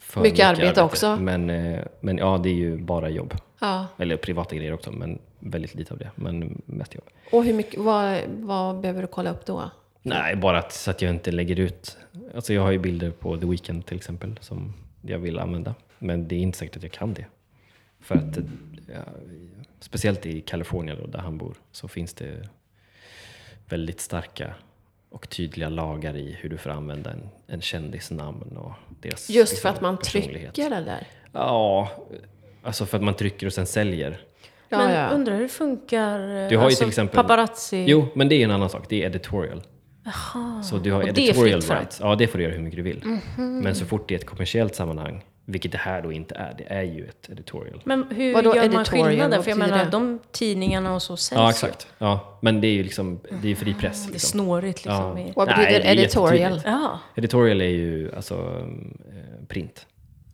för
Mycket arbete också.
Men, eh, men ja, det är ju bara jobb.
Ja.
Eller privata grejer också, men väldigt lite av det. Men mest jobb.
Och hur mycket, vad, vad behöver du kolla upp då?
Nej, bara att, så att jag inte lägger ut. Alltså jag har ju bilder på The Weeknd till exempel som jag vill använda. Men det är inte säkert att jag kan det. För att, eh, ja, speciellt i Kalifornien då, där han bor, så finns det väldigt starka och tydliga lagar i hur du får använda en, en kändis namn och deras
Just för
liksom,
att man
personlighet.
trycker det där?
Ja, alltså för att man trycker och sen säljer.
Ja,
men
ja.
undrar hur det funkar eh,
Du har ju till exempel-
paparazzi?
Jo, men det är en annan sak. Det är editorial. Så du har
Och det är
editorial
fritt fram.
rights. Ja, det får du göra hur mycket du vill. Men så fort det är ett kommersiellt sammanhang, vilket det här då inte är, det är ju ett editorial.
Men hur
Vadå
gör man
editorial?
skillnaden?
Vad
För jag
betyder
menar,
det?
de tidningarna och så säljs
Ja,
ju.
exakt. Ja, men det är ju liksom, det är ju fri press.
Det är
Liksom.
snårigt liksom.
Ja.
i-
Vad
Nej,
betyder
det är
editorial?
jättetydligt.
Ja.
Editorial är ju alltså eh, print.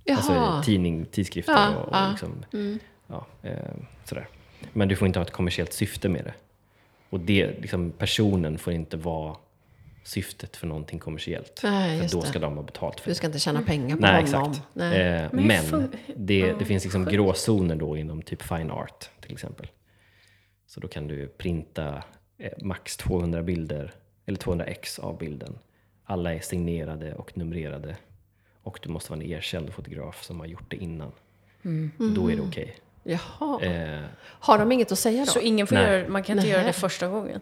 Jaha.
Alltså tidning, tidskrifter
Ja,
och, och
ja.
Liksom, ja, eh, sådär. Men du får inte ha ett kommersiellt syfte med det. Och det, liksom, personen får inte vara syftet för någonting kommersiellt.
Nej,
för
just
då
det.
ska de ha betalt för
Du
det.
ska inte
Mm.
tjäna pengar på
Nej,
honom.
exakt.
Nej.
Eh,
Men hur
men
fun-
det, det finns liksom gråzoner då inom typ fine art till exempel. Så då kan du printa eh, max 200 bilder, eller 200 ex av bilden. Alla är signerade och numrerade. Och du måste vara en erkänd fotograf som har gjort det innan.
Mm.
Då är det okej.
Jaha.
Eh,
Har de inget att säga då?
Så Alltså, ingen får
Nej.
göra, man kan inte
Nej.
göra det första gången.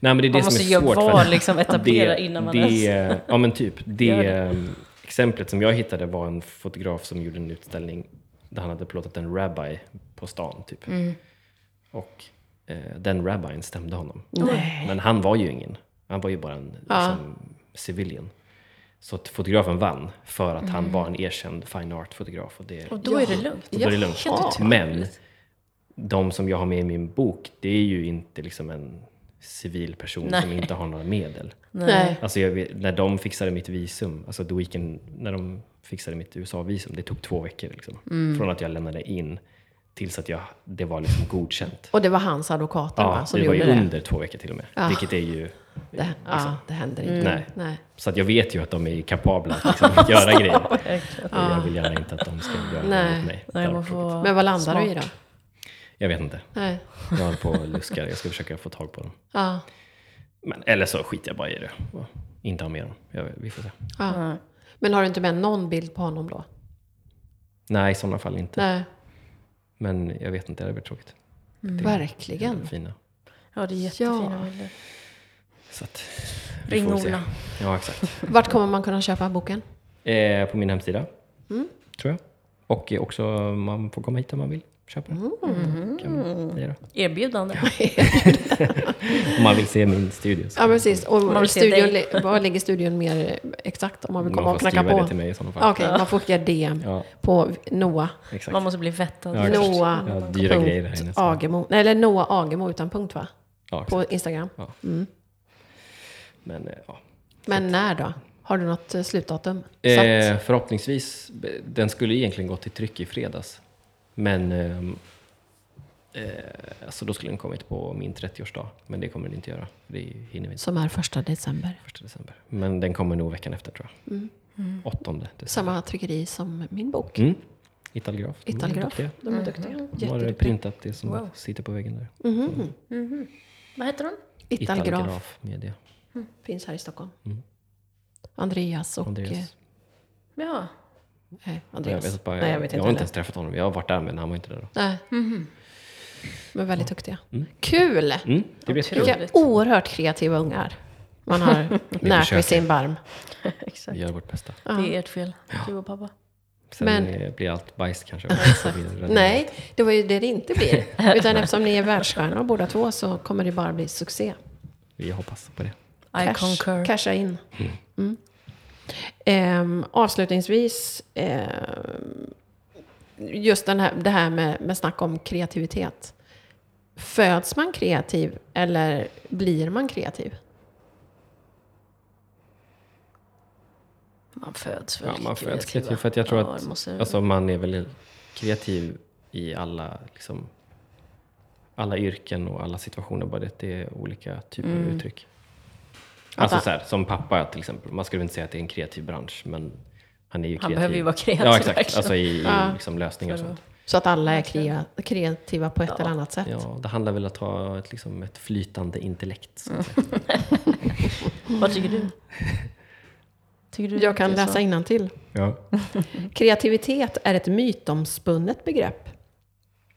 nej men det är det
Man måste
som är
göra
svårt.
vad
(laughs) för-
liksom etablera innan man ens...
det, Ja
(laughs)
men typ. Det, ehm, exemplet som jag hittade var en fotograf som gjorde en utställning där han hade plåtat en rabbi på stan typ. Och eh, den rabbin stämde honom.
Nej.
Mm.
Men han var ju ingen. Han var ju bara en liksom, civilian. Så att fotografen vann för att han var en erkänd fine art-fotograf. Och det,
Och då är det lugnt.
och då är det lugnt.
Jaha.
Men de som jag har med i min bok, det är ju inte liksom en civil person som inte har några medel.
Nej.
Alltså jag vet, när de fixade mitt visum, alltså The Weeknd, när de fixade mitt USA-visum, det tog två veckor liksom.
Mm.
Från att jag lämnade in tills att jag, det var liksom godkänt.
Och det var hans advokater va,
Ja,
som
det var ju
gjorde det?
under två veckor till och med.
Ah.
Vilket är ju...
det ja, det händer
Mm.
inte.
Nej.
Nej.
Så att jag vet ju att de är kapabla att liksom, (laughs) göra grejer. Och jag vill gärna inte att de ska göra det
Ah. Nej.
mot mig.
Nej, man
Därför-
får vara
Men vad landar du i då?
smart.
Jag vet inte.
Nej.
Jag håller på och luskar. Jag ska försöka få tag på dem.
Ja.
Men, eller så skiter jag bara i det. och Inte ha med dem. Jag, vet- vi får se.
Ja.
Ja.
Men har du inte med någon bild på honom
Mm.
då?
Nej, i sådana fall inte.
Nej.
Men jag vet inte, det hade varit tråkigt. Det är
Verkligen.
fina.
Ja, det är jättefina bilder.
Så att,
Ring
vi får se.
Ola.
Ja, exakt.
Vart kommer man kunna köpa boken?
Eh, på min hemsida,
Mm.
tror jag. Och eh, också, man får komma hit om man vill köpa.
Mm.
Kan man göra.
Erbjudande.
Om man vill se min studio. Så
Ja, precis.
man
Och
vill se
studion,
dig.
li- var ligger studion mer eh, exakt om man vill komma
man
och
får
knacka
skriva det till
på? Ah,
mig i sådana fall.
Okej, man får skicka DM
Ja,
på Noah.
exakt.
Man måste bli vettad.
Ja,
först.
exakt.
Noah.
Jag har dyra
punkt
grejer här inne. så-
Agemo. Nej, eller Noah Agemo utan punkt va?
Ja, exakt.
På Instagram.
Ja. Men, eh, ja.
Men när då? Har du något eh, slutdatum? satt?
Eh, förhoppningsvis. b- Den skulle egentligen gått till tryck i fredags. Men ehm, eh, alltså då skulle den kommit på min 30-årsdag. Men det kommer den inte göra. Det hinner vi inte.
Som är första december.
Första december. Men den kommer nog veckan efter tror jag. Åttonde december.
Mm. Samma tryckeri som min bok.
Mm. Italgraf. De är
Italgraf.
duktiga.
Mhm.
De är duktiga.
De har
Jätteduktiga.
printat det som sitter på väggen där.
Mhm.
Mm.
Vad heter hon?
Italgraf
Media.
finns här i Stockholm. eh, Andreas och...
Mm. Andreas.
Ja.
eh, Nej,
Jag
Andreas.
vet, inte bara,
Nej, jag vet inte
har inte
heller.
ens träffat honom. Jag har varit där men han var inte där då.
Nej. Mm-hmm. Men väldigt duktiga. Kul!
Mm, det blir jättekul.
Vilka oerhört kreativa ungar man (laughs) har närt
försöker.
vid sin barm.
Vi
(laughs) Exakt.
gör vårt bästa.
Det är ert fel. Du och pappa.
Sen
Men-
eh, blir allt bajs
(laughs)
kanske. Så blir det räddning.
Nej, det var ju det det inte (laughs) blir. Utan eftersom ni är världsstjärnor båda två så kommer det bara bli succé.
Vi hoppas på det.
I concur.
casha in. Mm. Ehm, avslutningsvis, ehm, just den här, det här med, med snack om kreativitet. Föds man kreativ eller blir man kreativ?
Man föds väl
Ja, man föds
kreativa.
kreativ för att jag tror
Ja,
att
det måste-
alltså, man är väl kreativ i alla, liksom, alla yrken och alla situationer. Bara det att det är olika typer av uttryck. Alltså
Mm. Att-
så här, som pappa till exempel. Man skulle inte säga att det är en kreativ bransch, men han är ju kreativ.
Han behöver ju vara kreativ.
Ja, exakt.
verkligen.
Alltså i, i
Ja.
liksom, lösningar och sånt.
Så att alla är krea- kreativa på ett eller annat sätt.
Ja, det handlar väl om att ha ett, liksom, ett flytande intellekt.
Mm.
så att säga.
Vad tycker (laughs) du? Tycker du
Jag kan
det är
läsa
så?
innantill.
Ja.
Kreativitet är ett mytomspunnet begrepp.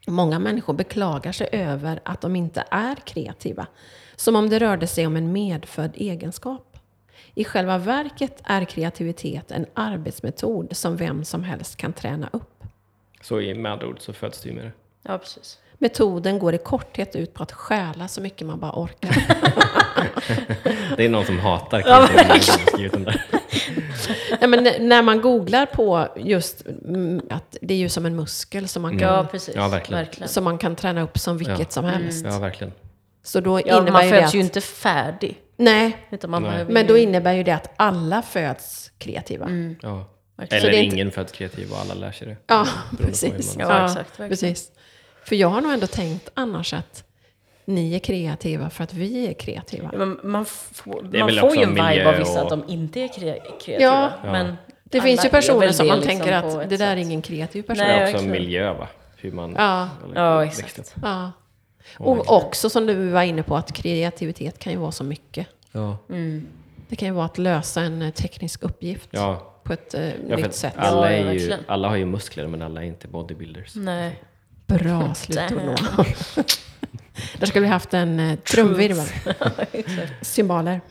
Många människor beklagar sig över att de inte är kreativa, som om det rörde sig om en medfödd egenskap. I själva verket är kreativitet en arbetsmetod som vem som helst kan träna upp.
Så i- med andra ord så föds du ju med det.
Ja, precis.
Metoden går i korthet ut på att stjäla så mycket man bara
(laughs)
orkar.
Det är någon som
(laughs)
hatar kreativitet.
Nej, men n- när man googlar på just mm, att det är ju som en muskel som man kan,
Ja, precis.
Mm. Ja, verkligen.
som man kan träna upp som vilket
Ja.
som helst.
ja, verkligen.
Så då
Mm. Ja,
innebär
man
ju det
föds
att,
ju inte Mm. färdig.
Nej,
Utan man
Nej.
behöver
Men
ju-
då innebär ju det att alla föds kreativa.
Mm.
Ja.
Verkligen.
Eller
Så det är inte-
ingen föds kreativ och alla lär sig det.
Ja,
på hur
precis.
man-
Ja, exakt, verkligen.
precis. För jag har nog ändå tänkt annars att ni är kreativa för att vi är kreativa.
Ja, men man får,
Det är
man
väl
får
också
ju en vibe
miljö
av vissa
och-
att de inte är kre- kreativa.
Ja.
Men
Det
alla
finns ju
är väl
personer som
det
man
liksom
tänker
på ett
att det där är
sätt.
ingen kreativ person.
Nej,
Men också
verkligen.
miljö, va? Hur man
Ja.
Ja,
växte
exakt.
upp.
Ja. Och också som du var inne på att kreativitet kan ju vara så mycket.
Ja.
Det kan ju vara att lösa en eh, teknisk uppgift
Ja.
på ett eh,
Ja, för
nytt
att
sätt.
alla,
Ja,
är ju,
verkligen.
alla har ju muskler men alla är inte bodybuilders. (laughs)
Nej.
Bra slutord. Noah. Där skulle vi haft en eh,
(laughs)
trumvirvel. Symboler.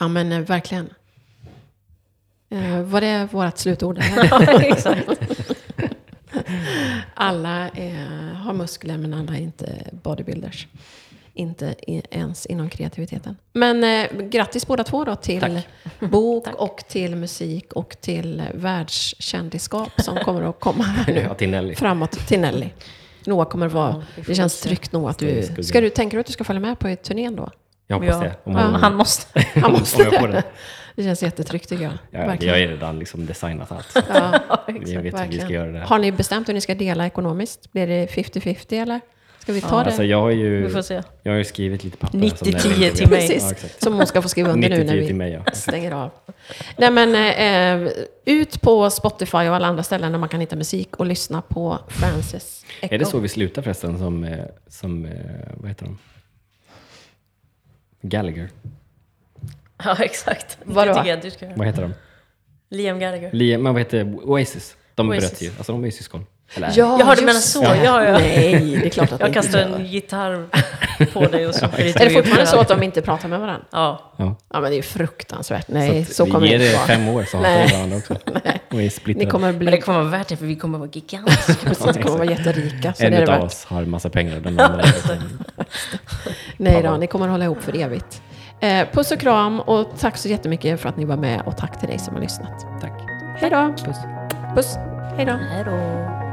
Ja, men eh, verkligen. Eh, var det
(laughs)
vårt slutord? eller?
Ja, exakt.
alla eh, har muskler, men alla är inte bodybuilders. Inte i, ens inom kreativiteten. Men eh, grattis båda två då
(laughs)
till
Tack.
bok och till musik och till eh, världskändisskap som kommer att
(laughs)
komma här nu.
Ja, till Nelly.
framåt till Nelly. Noah kommer vara...
vi får
Det känns
se.
tryggt nog att
Står i
du...
skuggan.
Ska du... Tänker du att du ska följa med på turnén då?
Jag hoppas det. Om
Ja,
hon,
han måste.
Han måste
om jag får
det.
det.
Det känns jättetryggt tycker jag.
Ja, jag har ju redan liksom designat allt.
Ja,
Vi vet hur vi ska
verkligen.
göra det här.
Har ni bestämt hur ni ska dela ekonomiskt? Blir det 50-50 eller? Ska vi ta det?
Alltså, jag, har ju,
Vi får se.
jag har ju skrivit lite papper. som
90-10
Nelly
till
inte vet.
mig.
Ja,
(laughs) Precis,
exakt.
som hon ska få skriva under nu när
90-10 till
vi
mig, ja.
stänger av. Nej men, eh, eh, ut på Spotify och alla andra ställen där man kan hitta musik och lyssna på Frances Echo.
Är det så vi slutar förresten som, eh, som eh, vad heter de? Gallagher.
Ja, exakt.
Vadå?
Det tycker jag att du ska göra.
Vad heter de?
Liam Gallagher.
Liam, men vad heter Oasis? De
Oasis.
bröt ju. Alltså de är ju syskon. Eller,
Ja,
Jaha, du
just
menar så.
det.
Ja, ja.
Nej, det är
(laughs)
klart att
Jag
ni inte
kastar
gör.
en gitarr på dig och så blir
Är det fortfarande så att de inte pratar med varandra?
Ja.
Ja.
Ja, men det är ju fruktansvärt. Nej, så,
att vi
kommer
ger
det inte
det
vara.
fem år så hatar
(laughs) Nej.
vi varandra också. De är
Ni
splittrade.
kommer bli...
Men det kommer vara värt det för vi kommer vara gigantiska.
(laughs) Precis, ni kommer vara jätterika. Så det
en
är det
utav
värt.
oss har massa pengar och
(laughs)
den andra liksom,
Nej då, ni kommer hålla ihop för evigt. Eh, puss och kram och tack så jättemycket för att ni var med och tack till dig som har lyssnat.
Tack.
Hej då!
Puss.
Puss! Hej då!
Hej då.